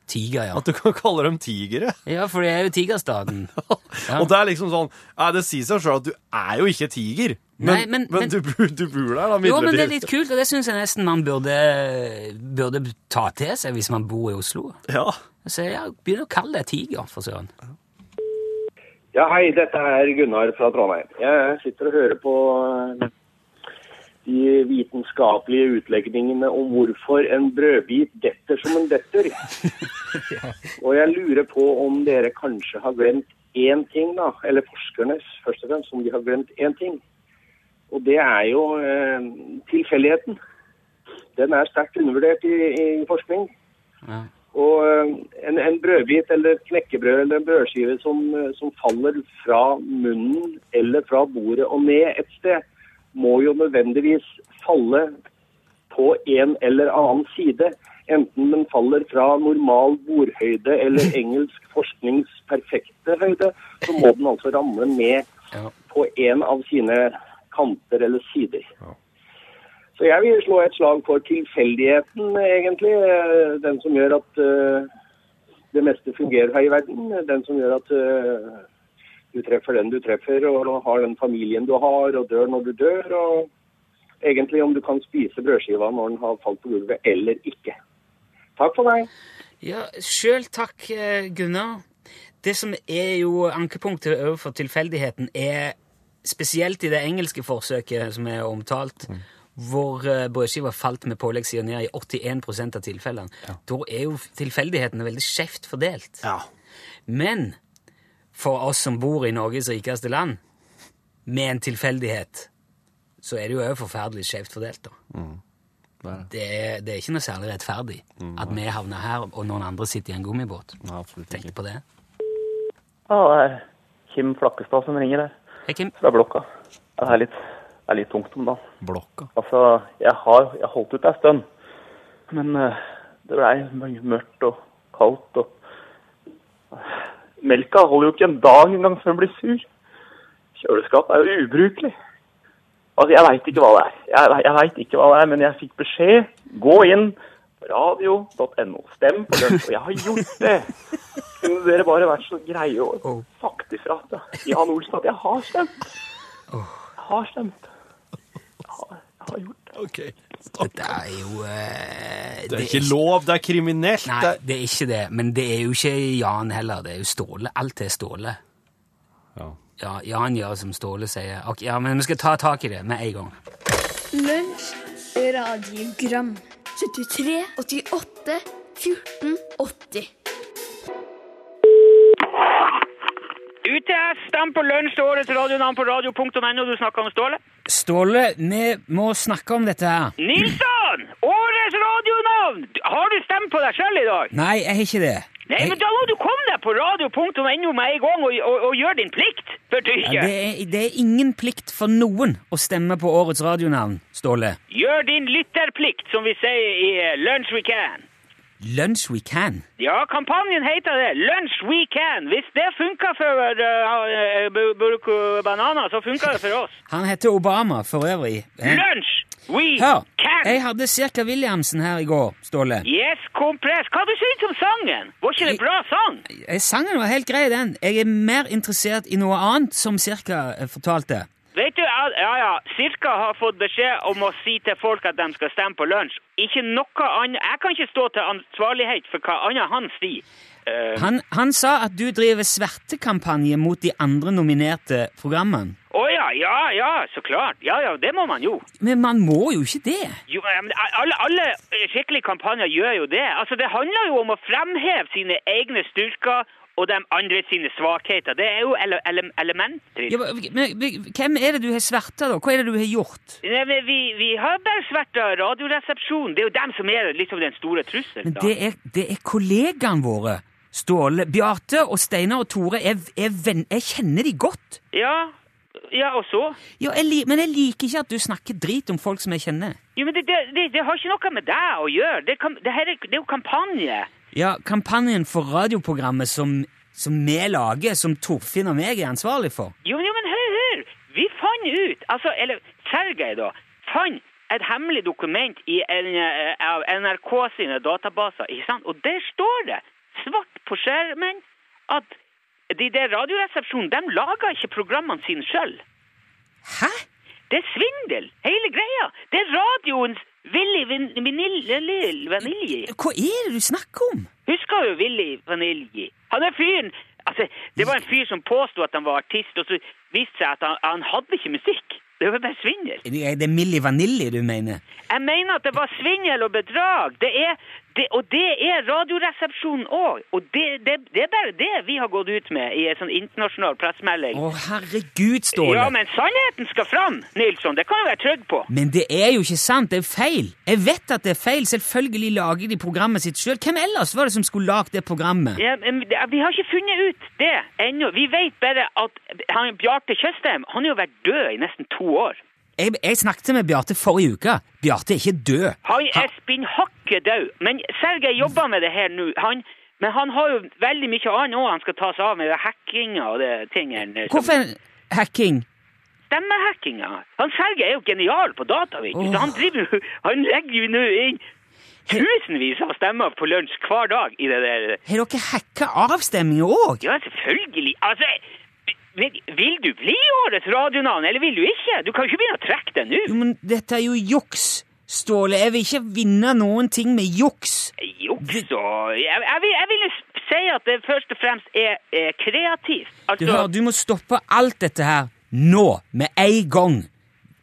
C: Tiger, ja.
A: At du kan kalle dem tigere.
C: Ja, for det er jo tigerstaten. Ja.
A: Og det er liksom sånn, eh, det sier seg sjøl at du er jo ikke tiger. Men,
C: Nei, men,
A: men, du, bor- du bor der, da, midlertidig?
C: jo, men det er litt kult, og det syns jeg nesten man burde, burde ta til seg hvis man bor i Oslo.
A: Ja.
C: Så ja, Begynn å kalle deg tiger, for søren.
I: Ja, hei, dette er Gunnar fra Trondheim. Jeg sitter og hører på eh, de vitenskapelige utlegningene om hvorfor en brødbit detter som en detter. Og jeg lurer på om dere kanskje har glemt én ting, da. Eller forskerne først og fremst, om de har glemt én ting. Og det er jo eh, tilfeldigheten. Den er sterkt undervurdert i, i forskning. Og eh, en, en brødbit eller et knekkebrød eller en brødskive som, eh, som faller fra munnen eller fra bordet og ned et sted, må jo nødvendigvis falle på en eller annen side. Enten den faller fra normal bordhøyde eller engelsk forsknings perfekte høyde, så må den altså ramle ned på en av sine kanter eller sider. Så jeg vil slå et slag for tilfeldigheten, egentlig. eh, Den som gjør at eh, det meste fungerer her i verden. Den som gjør at eh, du treffer den du treffer, og har den familien du har, og dør når du dør. Og egentlig om du kan spise brødskiva når den har falt på gulvet, eller ikke. Takk for meg.
C: Ja, sjøl takk, eh, Gunnar. Det som er jo ankepunktet overfor tilfeldigheten, er spesielt i det engelske forsøket som er omtalt, hvor eh, brødskiva falt med påleggssida ned i 81 av tilfellene. Da er jo tilfeldighetene veldig skjevt fordelt. Men for oss som bor i Norges rikeste land, med en tilfeldighet, så er det jo òg forferdelig skjevt fordelt, da. Mm. Det, er, det er ikke noe særlig rettferdig at vi havner her, og noen andre sitter i en gummibåt.
A: Nei, absolutt
C: Tenk
A: ikke.
C: på det.
E: Ja, det er Kim Flakkestad som ringer her,
C: Hei, Kim.
E: fra blokka. Det er litt, det er litt tungt om dagen.
A: Blokka.
E: Altså, jeg har jeg holdt ut ei stund, men eh, det blei mørkt og kaldt og eh, Melka holder jo ikke en dag engang før den blir sur. Kjøleskapet er jo ubrukelig. Altså, jeg veit ikke hva det er. Jeg, ve- jeg vet ikke hva det er, men jeg fikk beskjed. Gå inn på radio.no. Stem på den. Og jeg har gjort det. Kunne dere bare vært så greie og sagt ifra til Jan Olsen at jeg har stemt? Jeg har stemt. Jeg har, jeg har gjort det.
A: Ok.
C: Det er jo eh,
A: Det er ikke lov, det er kriminelt.
C: Nei,
A: det er-
C: det er ikke det. Men det er jo ikke Jan heller. Det er jo Ståle. Alt er Ståle.
A: Ja.
C: Ja, Jan gjør som Ståle sier. Ok, ja, Men vi skal ta tak i det med en gang.
G: Lunsj, radiogram 73, 88, 14, 80
D: UTS, stem på lunsj til årets radionavn på radio.no. Du snakker om Ståle.
C: Ståle, vi må snakke om dette her.
D: Nilsson! Årets radionavn! Har du stemt på deg selv i dag?
C: Nei, jeg har ikke det.
D: Nei, men da må du komme deg på radio.no med en gang og, og, og gjøre din plikt. For du ikke.
C: Ja, det, er, det er ingen plikt for noen å stemme på årets radionavn, Ståle.
D: Gjør din lytterplikt, som vi sier i eh, Lunch We Can.
C: Lunch we can.
D: Ja, kampanjen heter det. Lunch We Can. Hvis det funker for uh, Burko Banana, så funker det for oss.
C: Han heter Obama for øvrig. Eh,
D: Lunch We
C: Hør,
D: Can.
C: jeg hadde Cirka Williamsen her i går, Ståle.
D: Yes, kompress. Hva du synes om sangen? Var ikke det en bra sang?
C: Eh, Sangen var helt grei, den. Jeg er mer interessert i noe annet, som Cirka eh, fortalte.
D: Vet du, ja, ja, ja, Cirka har fått beskjed om å si til folk at de skal stemme på lunsj. Ikke noe annet. Jeg kan ikke stå til ansvarlighet for hva annet han sier. Eh,
C: Han, han sa at du driver svertekampanje mot de andre nominerte programmene.
D: Å ja, ja, ja, så klart. Ja, ja, det må man jo.
C: Men man må jo ikke det.
D: Jo, ja, men alle, alle skikkelige kampanjer gjør jo det. Altså, Det handler jo om å fremheve sine egne styrker og de andre sine svakheter. Det er jo ele ele elementarisk.
C: Ja, men, men, hvem er det du har sverta, da? Hva er det du har gjort?
D: Nei, men Vi, vi har bare svært av radioresepsjonen. Det er jo dem som er liksom den store trusselen.
C: Men
D: da.
C: det er, det er kollegaene våre. Ståle, Bjarte og Steinar og Tore er, er venn... Jeg kjenner de godt.
D: Ja, ja, og så?
C: Ja, jeg li, men jeg liker ikke at du snakker drit om folk som jeg kjenner.
D: Jo, men det, det, det, det har ikke noe med deg å gjøre. Det, kan, det, her er, det er jo kampanje.
C: Ja, kampanjen for radioprogrammet som, som vi lager, som Torfinn og meg er ansvarlig for.
D: Jo, men- jo, men hør, hør! Vi fant ut, altså, eller Sergej da, fant et hemmelig dokument i en, eh, av NRK sine databaser, ikke sant? Og der står det, svart på skjermen, at de der radioresepsjonen, de lager ikke programmene sine selv.
C: Hæ?
D: Det er svindel, hele greia. Det er radioens Willy Vin- Vanil- Vanil- Vanilji.
C: Hva er det du snakker om?
D: Husker du Willy Vanilji? Han er fyren Altså, det var en fyr som påsto at han var artist, og så viste det seg at han, han hadde ikke musikk. Det var bare svindel.
C: Det er det Milli Vanilli du mener?
D: Jeg mener at det var svindel og bedrag. Det er, det, og det er Radioresepsjonen òg. Og det, det, det er bare det vi har gått ut med i en sånn internasjonal pressemelding.
C: Å, herregud, Ståle!
D: Ja, men sannheten skal fram, Nilsson. Det kan du være trygg på.
C: Men det er jo ikke sant, det er feil! Jeg vet at det er feil, selvfølgelig lager de programmet sitt sjøl. Hvem ellers var det som skulle lagd det programmet?
D: Ja, men det- vi har ikke funnet ut det ennå. Vi vet bare at han, Bjarte Tjøstheim han har jo vært død i nesten to år.
C: Jeg, jeg snakket med Bjarte forrige uke. Bjarte er ikke død.
D: Han er spinnhakke død. Men Sergej jobber med det her nå. Han, men han har jo veldig mye annet òg han skal ta seg av med. det Hackinga og det tingene. som-
C: Hvorfor er hacking?
D: stemmehackinga. Han Sergej er jo genial på data, vet du. Så Han, driver, jo- han legger jo nå inn tusenvis av stemmer på lunsj hver dag i det der.
C: Har dere hacka avstemninger òg?
D: Ja, selvfølgelig. Altså, vil, vil du bli årets radionavn, eller vil du ikke? Du kan jo ikke begynne å trekke det nå.
C: Jo, men dette er jo juks, Ståle. Jeg vil ikke vinne noen ting med juks.
D: Juks og Jeg, jeg, vil, jeg vil jo si at det først og fremst er, er kreativt.
C: Du,
D: Altså,
C: hører, du må stoppe alt dette her nå, med en gang.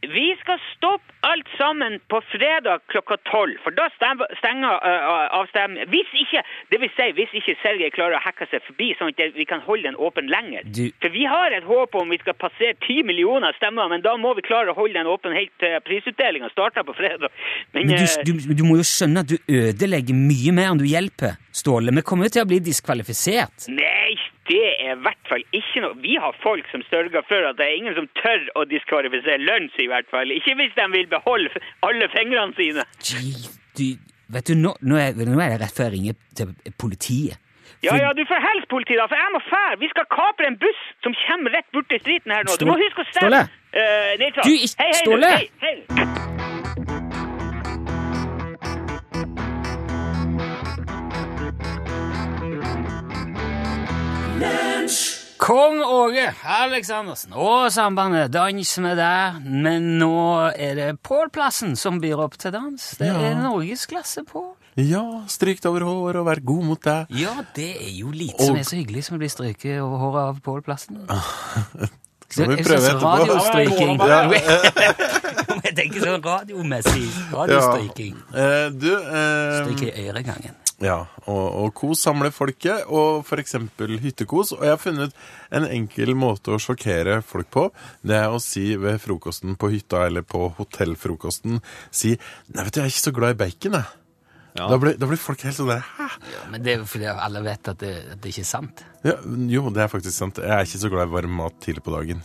D: vi skal stoppe alt sammen på fredag klokka tolv, for da stem- stenger uh, avstemningen. Hvis ikke, det vil si hvis ikke Sergej klarer å hacke seg forbi, sånn at det- vi kan holde den åpen lenger.
C: Du-
D: For vi har et håp om vi skal passere ti millioner stemmer, men da må vi klare å holde den åpen helt til prisutdelinga starter på fredag. Men,
C: Men
D: eh,
C: du, du, du må jo skjønne at du ødelegger mye mer enn du hjelper, Ståle. Vi kommer jo til å bli diskvalifisert.
D: Nei, det er i hvert fall ikke noe Vi har folk som sørger for at det er ingen som tør å diskvalifisere lunsj, i hvert fall. Ikke hvis de vil beholde f- alle fingrene sine.
C: Gee, du, vet du, nå, nå, er, nå er det rett før jeg ringer til politiet.
D: Ja, ja, du får helst politi, da, for jeg må fære. Vi skal kapre en buss som kommer rett borti striden her nå. Du må
C: Ståle-
D: huske å stemme.
C: Ståle!
D: Eh, Nilsson.
C: Du, ikke-
D: hei, hei, du.
C: Ståle!
D: Hei, hei.
C: Kong Åge Aleksandersen og sambandet Dans med deg, men nå er det Pål-plassen som byr opp til dans. Det er norgesklasse på.
B: Ja, strykt over hår og vær god mot deg.
C: Ja, det er jo lite som
B: Og-
C: er så hyggelig som å bli strøket over håret av Pål-plassen.
B: Skal vi prøve etterpå?
C: Radiostryking.
B: Ja,
C: Jeg tenker sånn radiomessig. Radiostryking.
B: eh, du eh,
C: Stryke i øregangen.
B: Ja, og, og kos samler folket, og for eksempel hyttekos. Og jeg har funnet en enkel måte å sjokkere folk på. Det er å si ved frokosten på hytta eller på hotellfrokosten si Nei, vet du, jeg er ikke så glad i bacon, jeg. Da, blir, da blir folk helt sånn der Hæ?
C: Men det er jo fordi alle vet at det, at det ikke er sant.
B: Ja, jo, det er faktisk sant. Jeg er ikke så glad i varm mat tidlig på dagen.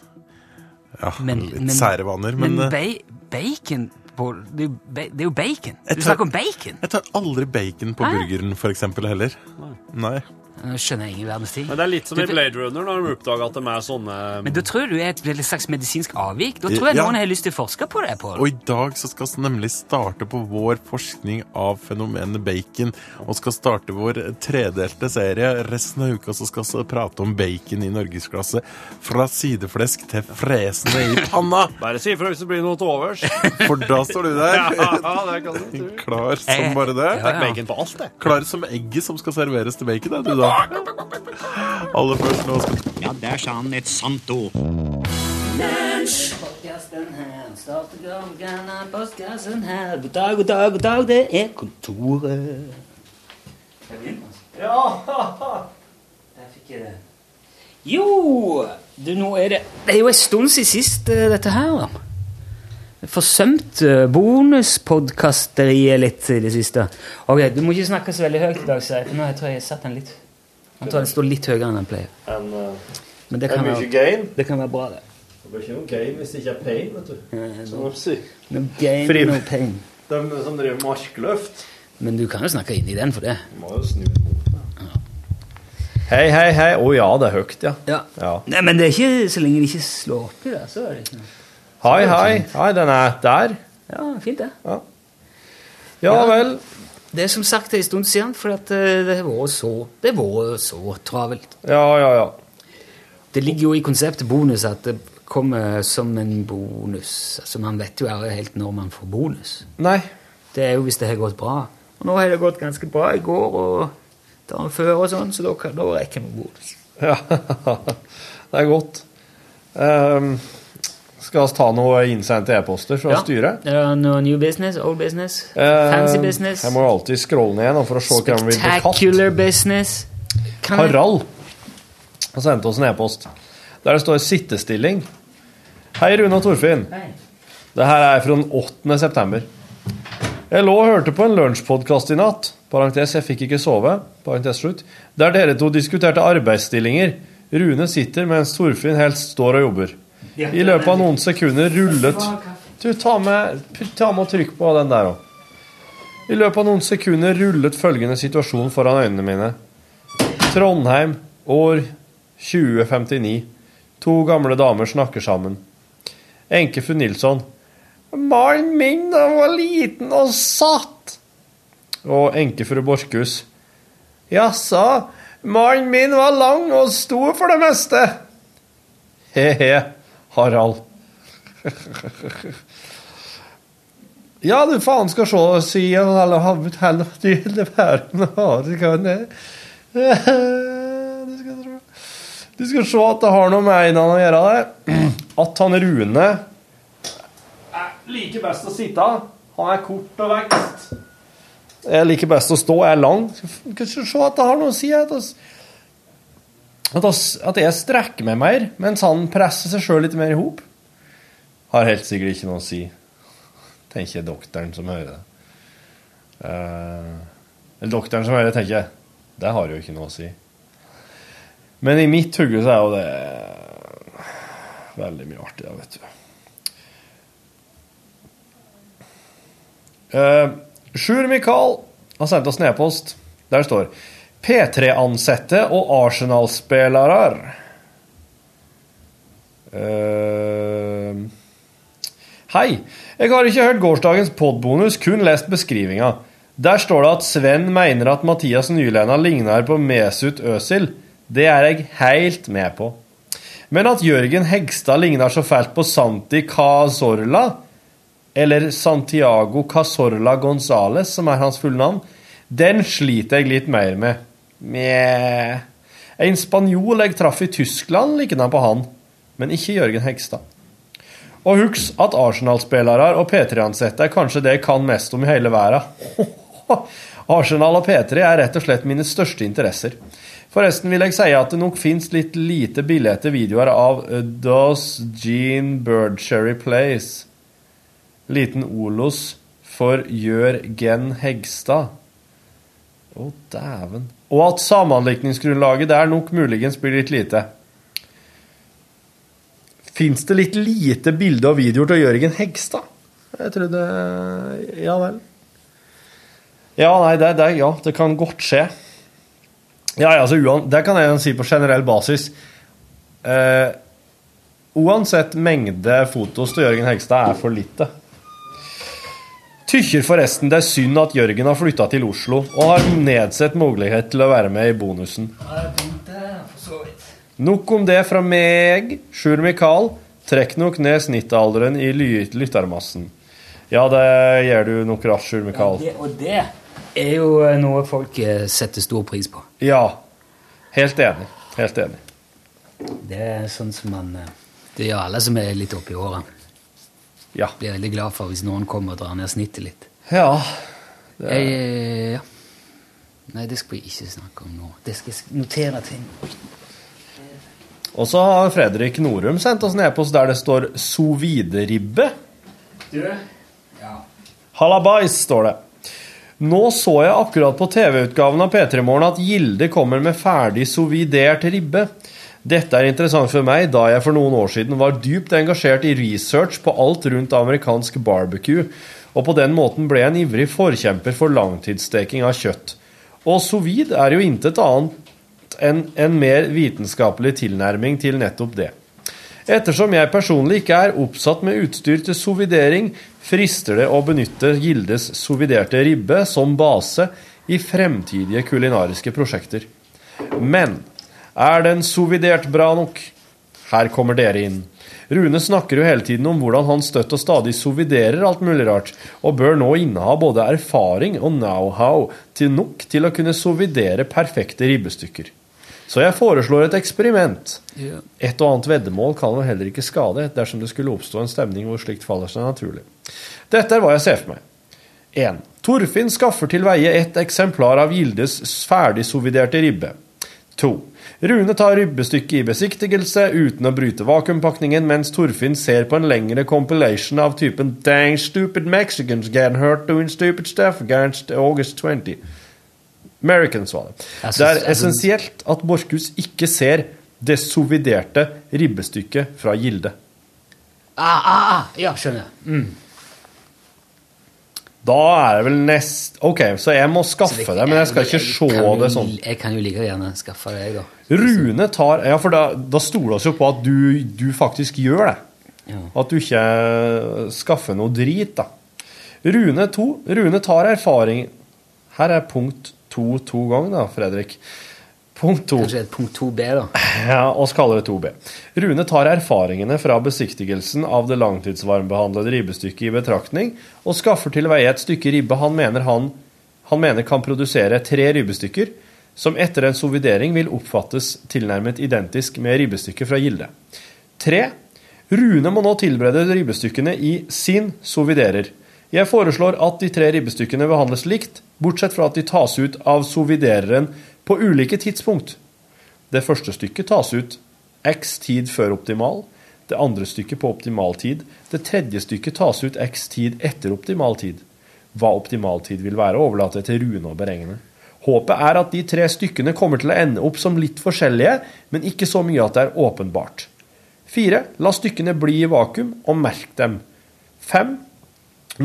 B: Ja,
C: Men-
B: litt
C: men-
B: sære vaner, men,
C: Men
B: eh,
C: ba bacon Pål, det, er jo ba- det er jo bacon. Du
B: tar-
C: snakker om bacon.
B: jeg tar aldri bacon på burgeren, for eksempel, heller. Nei.
C: Nå skjønner jeg ingen verdens ting.
A: Men det er litt som i Blade Runner, når de oppdager at de er sånne
C: Men da tror jeg du er et veldig slags medisinsk avvik. Da tror jeg
B: Ja.
C: noen har lyst til å forske på det, Pål.
B: Og i dag så skal vi nemlig starte på vår forskning av fenomenet bacon, og skal starte vår tredelte serie. Resten av uka så skal vi prate om bacon i norgesklasse, fra sideflesk til fresende i panna,
A: Bare si ifra hvis det blir noe til overs.
B: for da står du der,
A: Ja, det kan du tro.
B: klar som bare det.
C: Eh, Ja, ja.
A: Bacon på alt, det.
B: Klar som egget som skal serveres til bacon, er du da. Aller først nå skal
J: Ja, der sa han et sant ord.
C: Postkassen her, starte klokken, postkassen her. God dag, god dag, god dag, det er kontoret. Skal jeg begynne, altså? Der fikk jeg det. Jo, du, nå er det Det er jo en stund siden sist, eh, dette her, da. Forsømt eh, bonuspodkasteriet litt i det siste. Ok, Du må ikke snakke så veldig høyt i dag, sier jeg. Nå jeg tror jeg jeg satt den litt Jeg tror den står litt høyere enn den pleier. Men det kan, være,
A: eh, gain.
C: det kan være bra, det. Eh,
A: Det blir ikke noe gain hvis det ikke er pain, vet du. Som de sier.
C: No gain,
A: Fri-
C: no pain.
A: De som driver med arkløft,
C: Men du kan jo snakke inn i den for det.
A: må jo snu mot Hei, hei, hei. Å ja, det er høyt, ja. Ja.
C: Nei, men det er ikke så lenge de ikke slår opp i det, så er det liksom- ikke noe.
A: Hei, hei. Hei, den er der.
C: Ja, fint det.
A: Ja vel.
C: Det er som sagt en stund siden, for at eh, det har vært så, det har vært så travelt.
A: Ja, ja, ja.
C: Det ligger jo i konseptet bonus at eh, kommer som en bonus. Altså, Man vet jo aldri helt når man får bonus.
A: Nei.
C: Det er jo hvis det har gått bra. Og nå har det gått ganske bra i går og dagen før og sånn, så da, kan- da rekker vi bonus.
A: Ja, det er godt. Ehm, skal vi ta noen innsendte e-poster fra
C: Ja.
A: styret?
C: Er det noe new business? Old business?
A: Ehm,
C: Fancy business?
A: Jeg må jo alltid scrolle ned nå for å se hvem vi blir katt.
C: Spectacular business? Kan jeg-
A: Harald har sendt oss en e-post der det står 'sittestilling'. Hei, Rune og Torfinn. Det her er fra den 8. september. Jeg lå og hørte på en lunsjpodkast i natt parentes, jeg fikk ikke sove, parentes slutt, der dere to diskuterte arbeidsstillinger. Rune sitter mens Torfinn helst står og jobber. I løpet av noen sekunder rullet Du, ta med, ta med og trykk på den der òg. I løpet av noen sekunder rullet følgende situasjon foran øynene mine. Trondheim, år 2059. To gamle damer snakker sammen. Enkefru Nilsson. Mannen min da var liten og satt. Og enkefru Borchhus. Jaså, mannen min var lang og stor for det meste. He-he, Harald. Ja, du faen skal se og si alle havnet helvete i hele verden og det kan jeg. Du skal tro. Du skal se at det har noe med Einan å gjøre det. At han Rune Like best å sitte. Han er kort og vekst. Jeg liker best å stå, jeg er lang. Skal f- skal se at det har noe å si. At, oss, at, oss, at jeg strekker meg mer, mens han presser seg sjøl litt mer i hop. Har helt sikkert ikke noe å si, tenker doktoren som hører det. Eh, eller doktoren som hører det, tenker jeg. Det har jo ikke noe å si. Men i mitt hugge så er jo det veldig mye artig, da, vet du. Eh, Sjur Mikael har sendt oss en e-post. Der står P3-ansatte og Arsenal-spillere. Eh, hei. Jeg har ikke hørt gårsdagens podbonus, kun lest beskrivinga. Der står det at Sven mener at Mathias Nylenda ligner på Mesut Özil. Det er jeg helt med på. Men at Jørgen Hegstad ligner så fælt på Santi Cazorla, eller Santiago Cazorla Gonzales, som er hans fulle navn, den sliter jeg litt mer med. Mjæ. En spanjol jeg traff i Tyskland, likna på han, men ikke Jørgen Hegstad. Og husk at Arsenal-spillere og P3-ansatte er kanskje det jeg kan mest om i hele verden. Arsenal og P3 er rett og slett mine største interesser. Forresten vil jeg si at det nok fins litt lite billete videoer av eh, Does Jean Birdcherry Place? Liten Olos for Jørgen Hegstad. Å, dæven. Og at sammenlikningsgrunnlaget der nok muligens blir litt lite. Fins det litt lite bilde og videoer til Jørgen Hegstad? Jeg trodde Ja vel. Ja, nei, det, det, ja, det kan godt skje. Ja, ja, altså, uan, det kan jeg jo si på generell basis. Eh, uansett mengde fotos til Jørgen Hegstad er for lite. Tykker forresten det er synd at Jørgen har flytta til Oslo og har nedsett mulighet til å være med i bonusen. Nok om det fra meg. Sjur Mikael, trekk nok ned snittalderen i ly lyttermassen. Ja, det gjør du nok raskt, Sjur Mikael.
C: Det, og det er jo eh, noe folk eh, setter stor pris på.
A: Ja. Helt enig. Helt enig.
C: Det er sånn som man eh, Det gjør alle som er litt oppi åra.
A: Ja.
C: Blir veldig glad for hvis noen kommer og drar ned snittet litt.
A: Ja. Det
C: Jeg, eh, ja. Nei, det skal vi ikke snakke om nå. Det skal jeg sk- notere ting.
A: Og så har Fredrik Norum sendt oss en e-post der det står 'sous vide-ribbe'.
C: Du?
A: Halabais, står det. Nå så jeg akkurat på TV-utgaven av P3 Morgen at Gilde kommer med ferdig sous vidert ribbe. Dette er interessant for meg, da jeg for noen år siden var dypt engasjert i research på alt rundt amerikansk barbecue, og på den måten ble jeg en ivrig forkjemper for langtidssteking av kjøtt. Og sous vide er jo intet annet enn en mer vitenskapelig tilnærming til nettopp det. Ettersom jeg personlig ikke er oppsatt med utstyr til sovidering, frister det å benytte Gildes soviderte ribbe som base i fremtidige kulinariske prosjekter. Men er den sovidert bra nok? Her kommer dere inn. Rune snakker jo hele tiden om hvordan han støtt og stadig soviderer alt mulig rart, og bør nå inneha både erfaring og know-how til nok til å kunne sovidere perfekte ribbestykker. Så jeg foreslår et eksperiment.
C: Ja.
A: Et og annet veddemål kan jo heller ikke skade dersom det skulle oppstå en stemning hvor slikt faller seg naturlig. Dette er hva jeg ser for meg. 1. Torfinn skaffer til veie ett eksemplar av Gildes ferdigsoviderte ribbe. 2. Rune tar ribbestykket i besiktigelse uten å bryte vakuumpakningen, mens Torfinn ser på en lengre compilation av typen Dang stupid Mexicans get hurt doing stupid stuff against August 20. Americans var det.
C: Jeg
A: Det
C: synes-
A: er essensielt at Borchhus ikke ser det soviderte ribbestykket fra Gilde.
C: Ah, ah, ah. Ja, skjønner. Mm.
A: Da er det vel nest... Ok, så jeg må skaffe det, men jeg skal ikke
C: Kan
A: se
C: jo-
A: det sånn.
C: Jeg kan jo like gjerne skaffe det, jeg, da.
A: Rune tar Ja, for da, da stoler vi jo på at du, du faktisk gjør det. At du ikke skaffer noe drit, da. Rune 2. Rune tar erfaring Her er punkt 2 to ganger, da, Fredrik. Punkt 2.
C: Kanskje et punkt 2B, da.
A: Ja, oss kaller det 2B. Rune tar erfaringene fra besiktigelsen av det langtidsvarmbehandlede ribbestykket i betraktning, og skaffer til veie et stykke ribbe han mener, han, han mener kan produsere tre ribbestykker, som etter en sovidering vil oppfattes tilnærmet identisk med ribbestykket fra Gilde. 3. Rune må nå tilberede ribbestykkene i sin soviderer. Jeg foreslår at de tre ribbestykkene behandles likt, bortsett fra at de tas ut av sovidereren på ulike tidspunkt. Det første stykket tas ut x tid før optimal, det andre stykket på optimal tid, det tredje stykket tas ut x tid etter optimal tid. Hva optimal tid vil være, overlater jeg til Rune å beregne. Håpet er at de tre stykkene kommer til å ende opp som litt forskjellige, men ikke så mye at det er åpenbart. 4. La stykkene bli i vakuum, og merk dem. 5.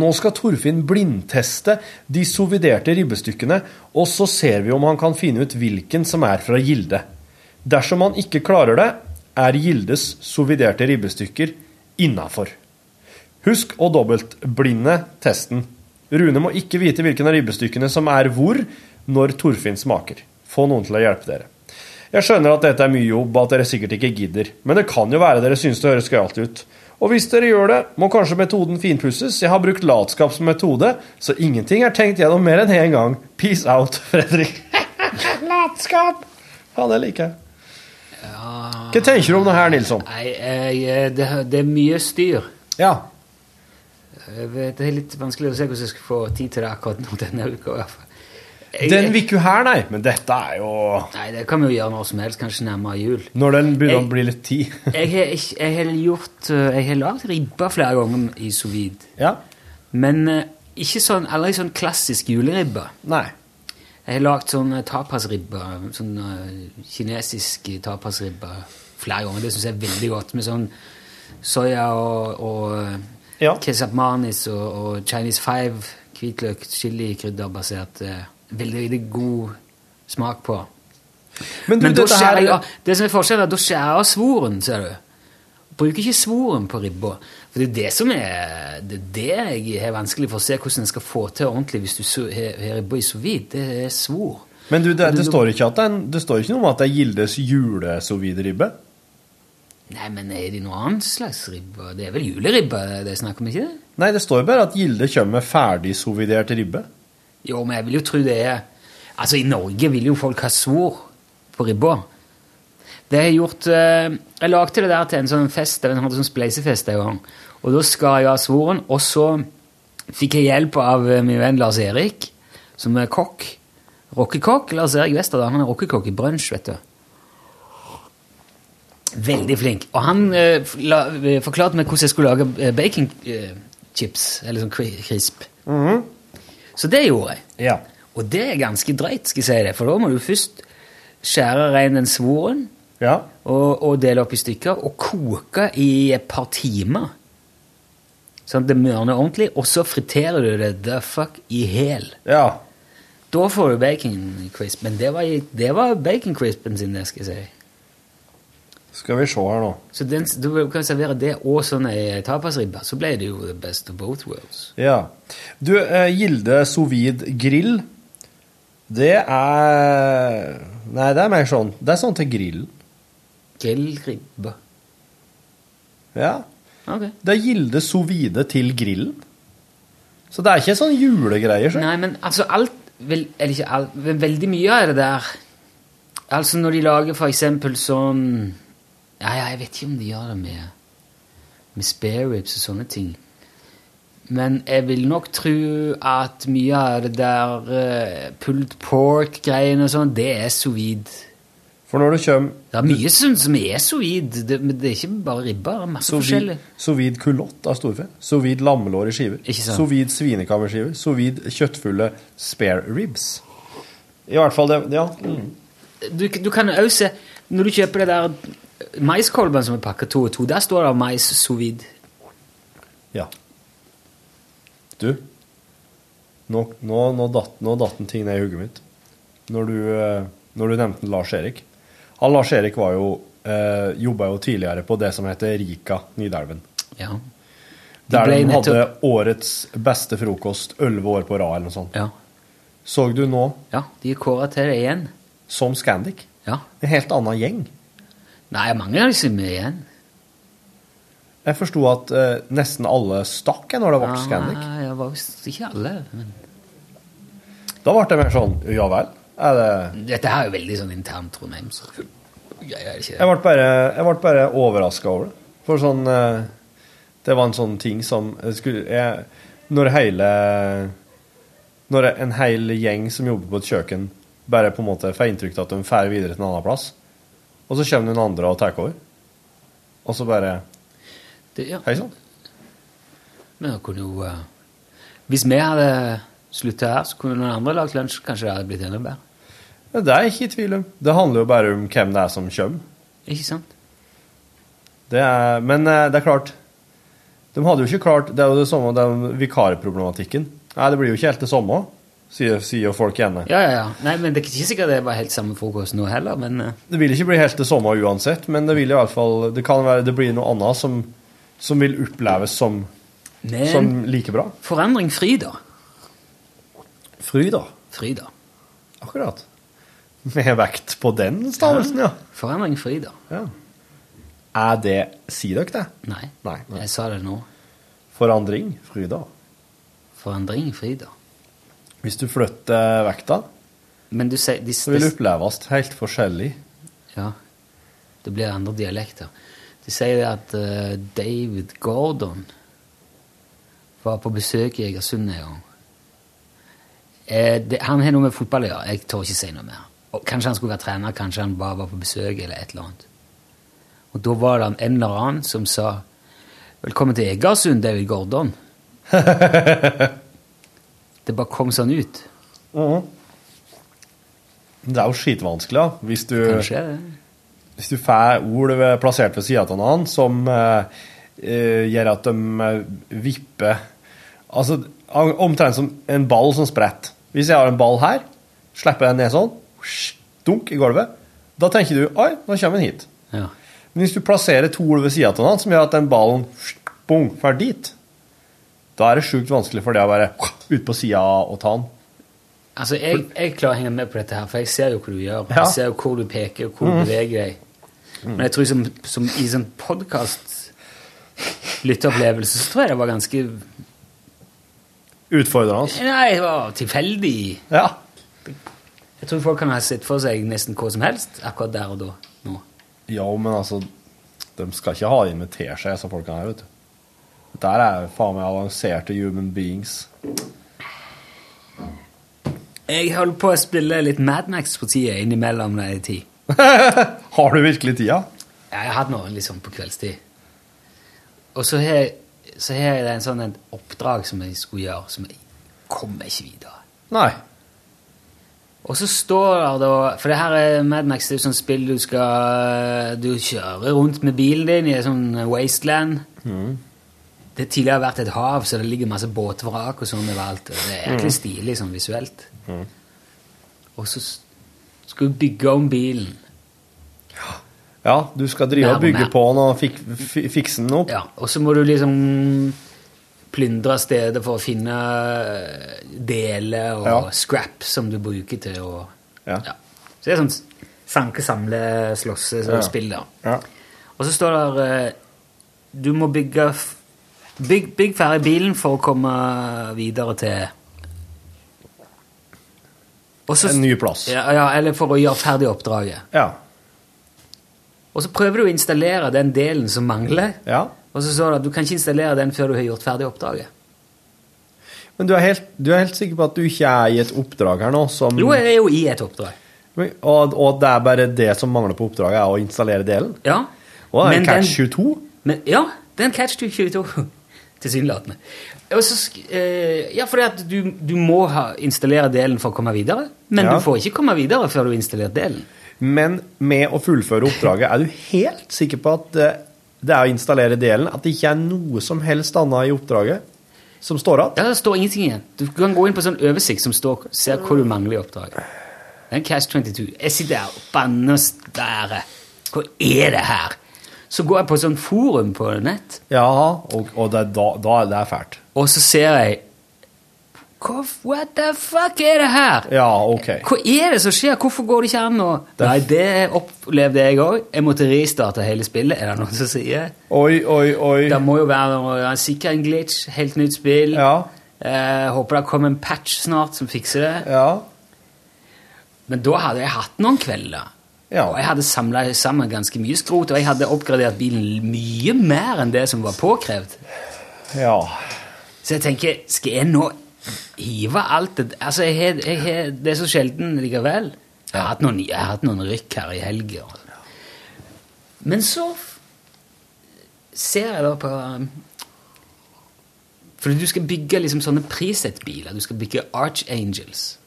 A: Nå skal Torfinn blindteste de soviderte ribbestykkene, og så ser vi om han kan finne ut hvilken som er fra Gilde. Dersom han ikke klarer det, er Gildes soviderte ribbestykker innafor. Husk å dobbeltblinde testen. Rune må ikke vite hvilken av ribbestykkene som er hvor, når Torfinn smaker. Få noen til å hjelpe dere. Jeg skjønner at dette er mye jobb, og at dere sikkert ikke gidder, men det kan jo være dere synes det høres gøyalt ut. Og hvis dere gjør det, må kanskje metoden finpusses. Jeg har brukt latskap som metode, så ingenting er tenkt gjennom mer enn én gang. Peace out, Fredrik. Latskap. Ja, det liker jeg. Hva tenker du om det her, Nilsson?
C: Nei, jeg, eh, det, det er mye styr.
A: Ja.
C: Jeg Eh, vet, Det er litt vanskelig å se hvordan jeg skal få tid til det akkurat nå denne uka. i hvert fall. Jeg-
A: Den viker jo her, nei, men dette er jo
C: Nei, det kan vi jo gjøre når som helst, kanskje nærmere jul.
A: Når den begynner
C: Jeg-
A: å bli litt tid.
C: Jeg har, ikke- jeg har gjort eh, Jeg har lagd ribba flere ganger i sous vide. Men eh, ikke sånn, aldri sånn klassisk juleribbe.
A: Nei.
C: Jeg har lagd sånn eh, tapasribbe, sånn eh, kinesisk tapasribbe flere ganger. Det syns jeg er veldig godt, med sånn soya og, og eh, kesap manis og, og Chinese five, hvitløk, chilikrydderbasert. eh, Veldig, veldig god smak på.
A: Men du,
C: da
A: dette
C: skjærer
A: her-
C: jeg av- det som er forskjellen, er at da skjærer jeg av svoren, ser du. Bruker ikke svoren på ribba. For det er det som er det, er det jeg har vanskelig for å se hvordan en skal få til ordentlig hvis du så- har har ribba i sous vide. Det er svor.
A: Men du, det,
C: Men
A: det,
C: du-
A: står ikke at det, er en, det står ikke noe om at det er Gildes julesovide-ribbe.
C: Nei, men er det noe annet slags ribba? Det er vel juleribba det er snakk om, ikke det?
A: Nei, det står bare at Gilde kommer med ferdig sovidert ribbe.
C: Jo, men jeg vil jo tro det er Altså, i Norge vil jo folk ha svor på ribba. Det har jeg gjort eh, Jeg lagde det der til en sånn fest, vi hadde sånn spleisefest en gang. Og da skar jeg av svoren, og så fikk jeg hjelp av eh, min venn Lars Erik, som er kokk. Rockekokk. Lars Erik Westerdal, han er rockekokk i Brunch, vet du. Veldig flink. Og han eh, f- la, eh, forklarte meg hvordan jeg skulle lage eh, bacon eh, chips, eller sånn kri- crisp. Så det gjorde jeg. Og det er ganske drøyt, skal jeg si det. For da må du først skjære rein den svoren og, og dele opp i stykker og koke i et par timer. Sånn at det mørner ordentlig, og så friterer du det the fuck i hel. Da får du bacon crisp. Men det var, det var bacon crispen sin, det skal jeg si.
A: Skal vi se her nå.
C: Så den, du kan servere det og sånn ei tapasribbe. Så ble det jo the best of both worlds.
A: Ja. Du, eh, Gilde sovid grill, det er Nei, det er mer sånn Det er sånn til grillen.
C: Grillribbe.
A: Ja. Det er Gilde sous vide til grillen. Så det er ikke sånn julegreier. Så.
C: Nei, men altså alt vel, Eller ikke alt, men veldig mye av det der Altså når de lager for eksempel sånn Ja, ja, jeg vet ikke om de gjør det med Med spare ribs og sånne ting. Men jeg vil nok tro at mye av det der eh, pulled pork-greiene og sånn, det er sous vide.
A: For når du kommer
C: Det er mye som, som er sous vide. Det, men det er ikke bare ribba. Det er masse
A: Sous vide-
C: forskjellig.
A: Sous vide culotte av storfe. Sous vide lammelår i skiver.
C: sant?
A: Sous vide svinekammerskiver. Sous vide kjøttfulle spare ribs. I hvert fall det Ja. Mm.
C: du, du kan jo også se Når du kjøper det der eh, maiskolben som er pakket to og to, der står det mais sous vide.
A: ja. Du, nå, nå, nå, datt, nå datt en ting ned i hodet mitt når du, eh, når du nevnte Lars-Erik. Han Lars-Erik var jo eh, jobba jo tidligere på det som heter Rika Nidelven.
C: Ja. De
A: Der
C: ble
A: de hadde
C: nettopp-
A: årets beste frokost elleve år på rad, eller noe sånt. Så du nå?
C: Ja, de er kåra til det igjen.
A: Som Scandic?
C: Ja.
A: En helt annen gjeng?
C: Nei, mange av disse er med igjen.
A: Jeg forsto at eh, nesten alle stakk jeg når det ble
C: Ah.
A: Scandic.
C: Nei, det var visst ikke alle. Men
A: Da ble det mer sånn ja vel? Er det
C: dette her er jo veldig sånn intern Trondheim. Så. Ja, jeg er ikke
A: Jeg ble bare, jeg ble bare overraska over det. For sånn eh, Det var en sånn ting som jeg skulle jeg, Når hele Når en hel gjeng som jobber på et kjøkken, bare på en måte får inntrykk av at de drar videre til en annen plass, og så kommer noen andre og tar over, og så bare Hei sann.
C: Men da kunne jo eh, Hvis vi hadde slutta her, så kunne noen andre lagd lunsj. Kanskje det hadde blitt enda bedre.
A: Ja, Det er jeg ikke i tvil om. Det handler jo bare om hvem det er som kommer.
C: Ikke sant?
A: Det er, men eh, det er klart De hadde jo ikke klart Det er jo det samme den vikarproblematikken. Nei, det blir jo ikke helt det samme, sier, sier jo folk gjerne.
C: Ja, ja, ja. Nei, men Det er ikke sikkert det var helt samme frokost nå heller, men eh,
A: Det vil ikke bli helt det samme uansett, men det vil i alle fall Det kan være det blir noe annet som, som vil oppleves som,
C: Men-
A: som like bra.
C: forandring fryder.
A: Fryd, da.
C: Fryder.
A: Akkurat. Med vekt på den stavelsen, ja.
C: Forandring fryder.
A: ja. Er det Sier dere det?
C: Nei.
A: Nei.
C: Jeg sa det nå.
A: Forandring. Fryda.
C: Forandring fryder.
A: Hvis du flytter vekta,
C: Men du sier de,
A: så vil det
C: de,
A: oppleves helt forskjellig.
C: Ja. Det blir andre dialekter. De sier det at eh, David Gordon var på besøk i Egersund en gang. Eh, det, han har noe med fotball å gjøre. Jeg tør ikke si noe mer. Og kanskje han skulle være trener, kanskje han bare var på besøk, eller et eller annet. Og da var det en eller annen som sa Velkommen til Egersund, David Gordon. det bare kom sånn ut.
A: Mhm. Det er jo skitvanskelig, da. Hvis du,
C: Kanskje det.
A: hvis du får ord ved- plassert ved sida av en annen som eh, eh, gjør at de eh, vipper Altså an- omtrent som en ball som spretter. Hvis jeg har en ball her, slipper jeg den ned sånn, husj, dunk i gulvet, da tenker du Oi, nå kommer den hit.
C: Ja.
A: Men hvis du plasserer to ord ved sida av en annen som gjør at den ballen husj, bong, fer dit, da er det sjukt vanskelig for det å være ute på sida og ta den.
C: Altså, jeg, jeg klarer å henge med på dette her, for jeg ser jo hva du gjør.
A: Ja.
C: Jeg ser jo hvor du peker, og hvor
A: Mm.
C: du beveger deg. Men jeg tror som, som i sånn podkast-lytteopplevelse, så tror jeg det var ganske
A: Utfordrende.
C: Nei, det var tilfeldig.
A: Ja.
C: Jeg tror folk kan ha sett for seg nesten hva som helst akkurat der og da. Nå.
A: Ja, men altså De skal ikke ha inn med teskje, disse folkene her, vet du. Dette her er faen meg avanserte human beings.
C: Jeg holder på å spille litt Madmax på tida innimellom når jeg har tid.
A: har du virkelig tida?
C: Ja, jeg har hatt noen liksom på kveldstid. Og så har jeg- så har jeg en sånn et oppdrag som jeg skulle gjøre, som jeg kommer ikke videre.
A: Nei.
C: Og så står det da For det her er Mad Max, det er jo sånn spill du skal eh, Du kjører rundt med bilen din i en sånn wasteland. Det har tidligere vært et hav, så det ligger masse båtvrak og sånn overalt. og Det er
K: Mm.
C: egentlig stilig sånn visuelt. Og så s- skal du bygge om bilen.
A: Ja, du skal drive og
C: Nærme.
A: bygge på den og fik, fi- fikse den opp.
C: Ja, og så må du liksom plyndre stedet for å finne deler og
A: Ja.
C: scrap som du bruker til å
A: Ja.
C: Så det er sånn sanke, samle, eh, sånn slåsse
A: Ja.
C: spill, da.
A: Ja.
C: Og så står det eh, Du må bygge f- Bygg, bygg ferdig bilen for å komme videre til Og så-
A: En ny plass.
C: Ja, ja, eller for å gjøre ferdig oppdraget.
A: Ja.
C: Og så prøver du å installere den delen som mangler,
A: Ja.
C: og så står det at du kan ikke installere den før du har gjort ferdig oppdraget.
A: Men du er, helt, du er helt sikker på at du ikke er i et oppdrag her nå? Som,
C: Jo, jeg er jo i et oppdrag.
A: Men- Og, og det er bare det som mangler på oppdraget, er å installere delen?
C: Ja.
A: Og det er
C: Men
A: Catch 22?
C: Men, ja, den catch du 22. Tilsynelatende. Og så sk- eh, Ja, fordi at du, du må ha, installere delen for å komme videre, men
A: Ja.
C: du får ikke komme videre før du har installert delen.
A: Men med å fullføre oppdraget, er du helt sikker på at det, det er å installere delen? At det ikke er noe som helst annet i oppdraget som står igjen?
C: Ja, det står ingenting igjen. Du kan gå inn på en sånn oversikt som står, ser hvor du mangler i oppdraget. Den Cash 22. Jeg sitter her og banner og stærer. Hva er det her? Så går jeg på sånn forum på nett,
A: Ja, og, og det, er da, da det er fælt.
C: og så ser jeg Hva, f- what the fuck er det her?
A: Ja, ok.
C: Hva er det som skjer? Hvorfor går det ikke an å Nei, det opplevde jeg òg. Jeg måtte restarte hele spillet, er det noen som sier.
A: Oi, oi, oi.
C: Det må jo være noe- ja, sikkert en glitch. Helt nytt spill. Eh, håper det kommer en patch snart som fikser det. Men da hadde jeg hatt noen kvelder. Og jeg hadde samla sammen ganske mye skrot, og jeg hadde oppgradert bilen mye mer enn det som var påkrevd.
A: Ja.
C: Så jeg tenker, skal jeg nå hive alt det Altså, jeg har- jeg har Det er så sjelden likevel. Jeg har hatt noen, jeg har hatt noen rykk her i helga. Men så f- ser jeg da på um, For du skal bygge liksom sånne preset-biler. Du skal bygge Archangels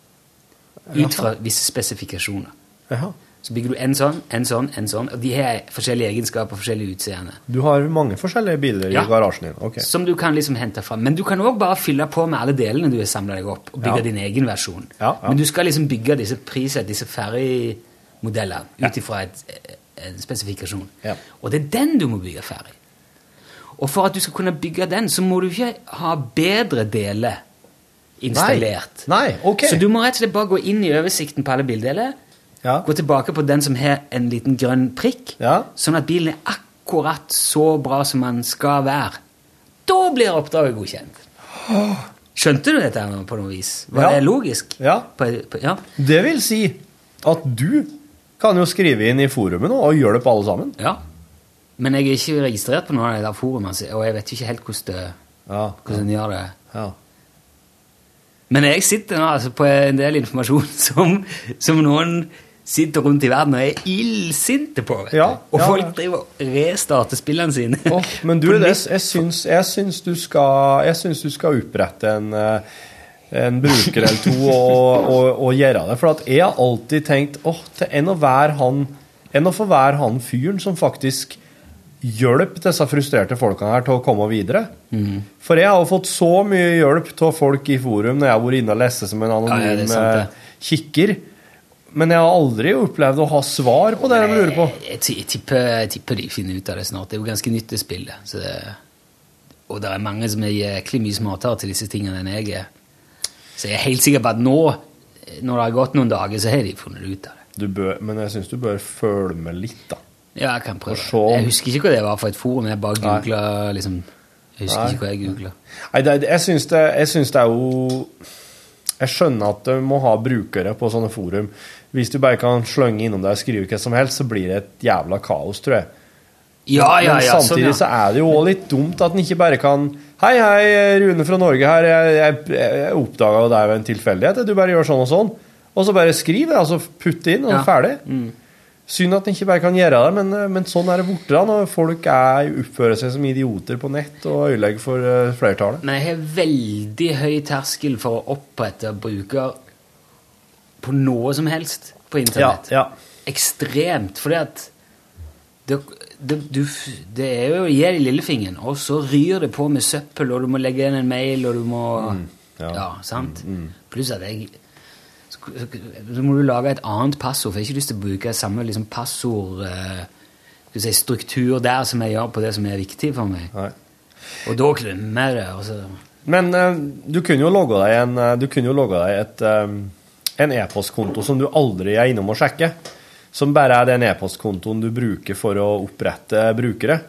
C: ut fra visse spesifikasjoner.
A: Jaha.
C: Så bygger du en sånn, en sånn, en sånn. Og de har forskjellige egenskaper og forskjellig utseende.
A: Du har mange forskjellige biler
C: Ja.
A: i garasjen din. Ok.
C: Som du kan liksom hente fram. Men du kan òg bare fylle på med alle delene du har samla deg opp, og bygge
A: Ja.
C: din egen versjon.
A: Ja, ja.
C: Men du skal liksom bygge disse priset, disse ferdigmodellene, ut ifra et- en spesifikasjon. Og det er den du må bygge ferdig. Og for at du skal kunne bygge den, så må du ikke ha bedre deler installert.
A: Nei, ok.
C: Så du må rett og slett bare gå inn i oversikten på alle bildeler, gå tilbake på den som har en liten grønn prikk, sånn at bilen er akkurat så bra som den skal være. Da blir oppdraget godkjent. Skjønte du dette her på noe vis? Var
A: Ja.
C: det logisk?
A: Ja.
C: På, på, ja.
A: Det vil si at du kan jo skrive inn i forumet nå og gjøre det på alle sammen.
C: Ja. Men jeg er ikke registrert på noen av de der forumene, så- og jeg vet jo ikke helt hvordan det, hvordan de gjør det. Men jeg sitter nå altså på en del informasjon som, som noen sitter rundt i verden og er illsinte på. Vet du. og
A: ja,
C: folk
A: ja.
C: driver og restarter spillene sine.
A: Men du, det, jeg, syns, jeg, syns du skal, jeg syns du skal opprette en, eh, en bruker eller to og, og, og gjøre det. For at jeg har alltid tenkt åh, til en å være han En å få være han fyren som faktisk hjelper disse frustrerte folkene her til å komme videre.
C: Mm.
A: For jeg har jo fått så mye hjelp av folk i forum når jeg har vært inne og lest som en
C: Ja,
A: anonym
C: ja, det er sant, det.
A: eh, kikker. Men jeg har aldri opplevd å ha svar på det de lurer på.
C: Jeg, Eh, ti- jeg, tipper, jeg tipper de finner ut av det snart. Det er jo ganske nytt det spillet. Så det, og det er mange som er jæklig mye smartere til disse tingene enn jeg er. Så jeg er helt sikker på at nå, eh, når det har gått noen dager, så har de funnet ut av det.
A: Du bør, men jeg syns du bør følge med litt, da.
C: Ja, jeg kan prøve.
A: Og se om-
C: Jeg husker ikke hva det var for et forum. Jeg bare
A: Nei.
C: googla liksom Jeg husker
A: Nei.
C: ikke hva jeg googla.
A: Nei, det, jeg syns det, jeg syns det er jo Jeg skjønner at du må ha brukere på sånne forum. Hvis du bare kan slønge innom deg og skrive hva som helst, så blir det et jævla kaos, tror jeg.
C: Ja, ja,
A: Men
C: ja, sånn,
A: samtidig
C: ja.
A: så er det jo også litt dumt at en ikke bare kan Hei, hei, Rune fra Norge her. Jeg, jeg, jeg oppdaga jo det er jo en tilfeldighet. Du bare gjør sånn og sånn. Og så bare skriv det, altså putt det inn, og
C: Ja. Mm.
A: ferdig. Synd at en ikke bare kan gjøre det, men, men sånn er det borte da, når folk er, oppfører seg som idioter på nett og ødelegger for eh, flertallet.
C: Men jeg har veldig høy terskel for å opprette bruker på noe som helst på internett. Ekstremt, fordi at det, det, du, f- det er jo å gi deg lillefingeren, og så ryr det på med søppel, og du må legge inn en mail, og du må ja. sant? Pluss at jeg så, så, så må du lage et annet passord, for jeg har ikke lyst til å bruke samme liksom, passord eh, skal vi si, struktur der som jeg gjør på det som er viktig for meg. Og da klemmer det. Og så.
A: Men eh, du kunne jo logge deg en eh, Du kunne jo logge deg et eh, en e-postkonto som du aldri er innom og sjekke. Som bare er den e-postkontoen du bruker for å opprette brukere.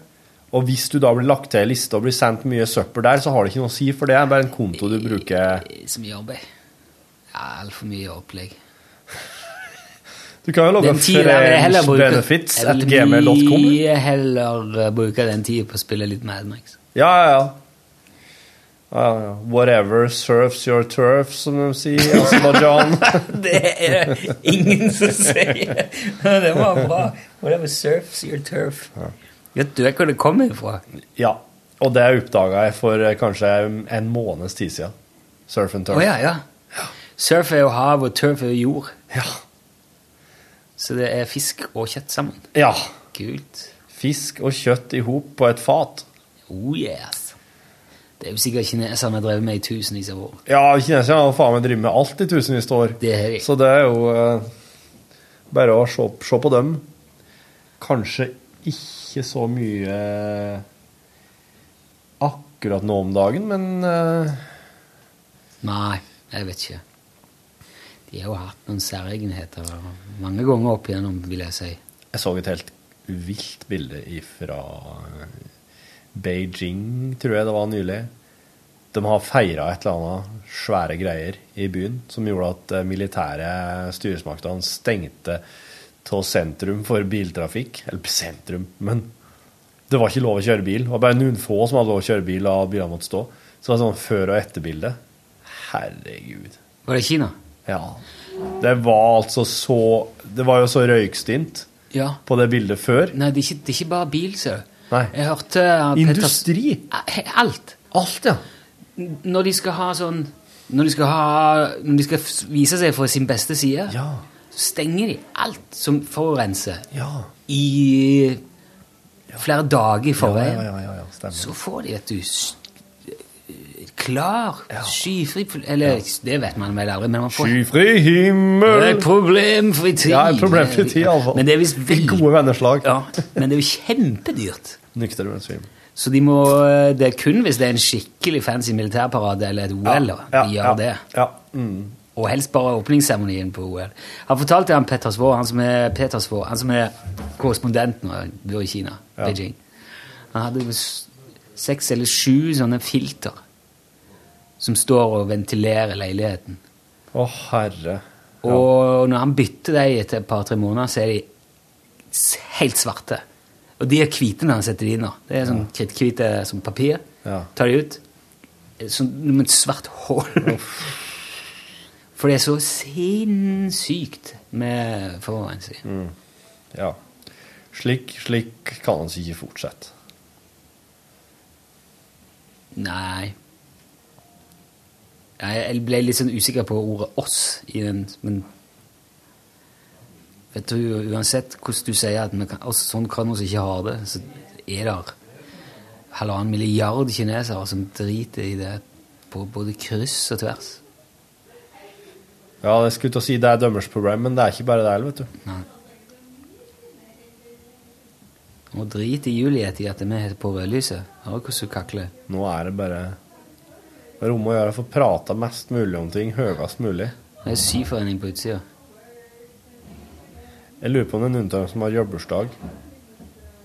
A: Og hvis du da blir lagt til ei liste og blir sendt mye søppel der, så har det ikke noe å si, for det er bare en konto du bruker
C: Så mye arbeid. eh. Ja, altfor mye opplegg.
A: Du kan jo logge
C: Den tiden jeg vil heller bruke-
A: friendsbenefits
C: jeg
A: at
C: vil
A: gmail.com.
C: mye heller eh, bruke den tida på å spille litt Mad Max.
A: Ja, ja, ja. Ja, ja, ja. Whatever serves your turf, som de sier Altså, i Aserbajdsjan.
C: det er det ingen som sier. Det var bra. Whatever surfs your turf. Vet du hvor det kommer fra?
A: Ja, og det oppdaga jeg for eh, kanskje en måneds tid siden. Surf and
C: Å
A: turf.
C: ja, ja. Surf er jo hav, og turf er jo jord. Så det er fisk og kjøtt sammen.
A: Ja.
C: Kult.
A: Fisk og kjøtt i hop på et fat.
C: Oh yes. Det er jo sikkert kineserne har drevet med i tusenvis av år.
A: Ja, kineserne har faen meg drevet med alt i tusenvis av år. Så det er jo eh, bare å se, se på dem. Kanskje ikke så mye eh, akkurat nå om dagen, men eh,
C: Nei, jeg vet ikke. De har jo hatt noen særegenheter mange ganger opp igjennom, vil jeg si.
A: Jeg så et helt vilt bilde fra Beijing, tror jeg det var nylig. De har feira et eller annet svære greier i byen som gjorde at eh, militære styresmaktene stengte av sentrum for biltrafikk. Eller sentrum, men det var ikke lov å kjøre bil. Det var bare noen få som hadde lov å kjøre bil, og bilene måtte stå. Så det var sånn før- og etterbilde. Herregud.
C: Var det Kina?
A: Ja. Det var altså så Det var jo så røykstint
C: Ja.
A: på det bildet før.
C: Nei, det er ikke, det er ikke bare bil, ser du.
A: Nei.
C: Jeg hørte at Petter-
A: Industri?
C: Eh, Alt.
A: Alt, ja.
C: Når de skal ha sånn Når de skal, ha, når de skal f- vise seg fra sin beste side, så stenger de alt som forurenser.
A: Ja.
C: I flere dager i forveien.
A: Ja, ja, ja, ja, stemmer.
C: så får de, vet du s- eh, Klar, skyfri Eller det vet man vel aldri, men man får
A: Skyfri himmel!
C: Det er problemfri tid.
A: Ja, et problemfri tid, altså.
C: Men det er visst veldig
A: Gode venneslag.
C: Ja, men det er jo kjempedyrt.
A: Nykter med svim.
C: Så de må, eh, det er kun hvis det er en skikkelig fancy militærparade eller et OL, da, de gjør det.
A: mm.
C: Og helst bare åpningsseremonien på OL. Han fortalte han Petter Svår, han som er, Peter Svår, han som er korrespondent nå, bor i Kina, Beijing. Han hadde jo s- seks eller sju sånne filter som står og ventilerer leiligheten.
A: Å, herre. Ja.
C: Og når han bytter dem etter et par-tre måneder, så er de s- helt svarte. Og de er hvite når han setter de inn. nå. Det er sånn kritthvite som papir. Tar de ut. Som et svart hull. For det er så sinnssykt med forurensning.
A: Mm. Ja. Slik, slik kan han ikke fortsette.
C: Nei. Nei, Jeg ble litt sånn usikker på ordet 'oss' i den, men Vet du, uansett hvordan du sier at vi kan, oss, sånn kan vi ikke ha det, så er det halvannen milliard kinesere som driter i det på både kryss og tvers.
A: Ja, jeg skulle til å si det er dømmers problem, men det er ikke bare det heller, vet du.
C: Nei. Og driter Juliet i at vi er på rødlyset. Hører hvordan hun kakler.
A: Nå er det bare det er om å gjøre å få prata mest mulig om ting høyest mulig.
C: Det er syforening på utsida.
A: Jeg lurer på om det er noen av dem som har jobbursdag.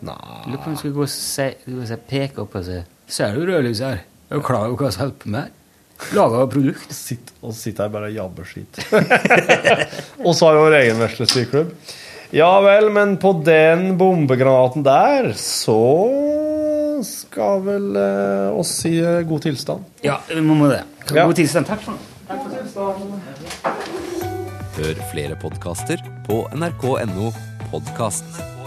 A: Nei
C: Lurer på om du skulle gå og si, du kan si peke opp og si Ser du rødlyset her? Er du klar over hva som holder på med her? Laga produkt.
A: Sitt, og sitter her bare og jabber skit. og så har vi vår egen vesle syklubb. Ja vel, men på den bombegranaten der, så skal vel eh, oss si eh, god tilstand.
C: Ja, vi må det.
A: Ja.
C: God tilstand. Takk for nå.
L: Hør flere podkaster på nrk.no podkast.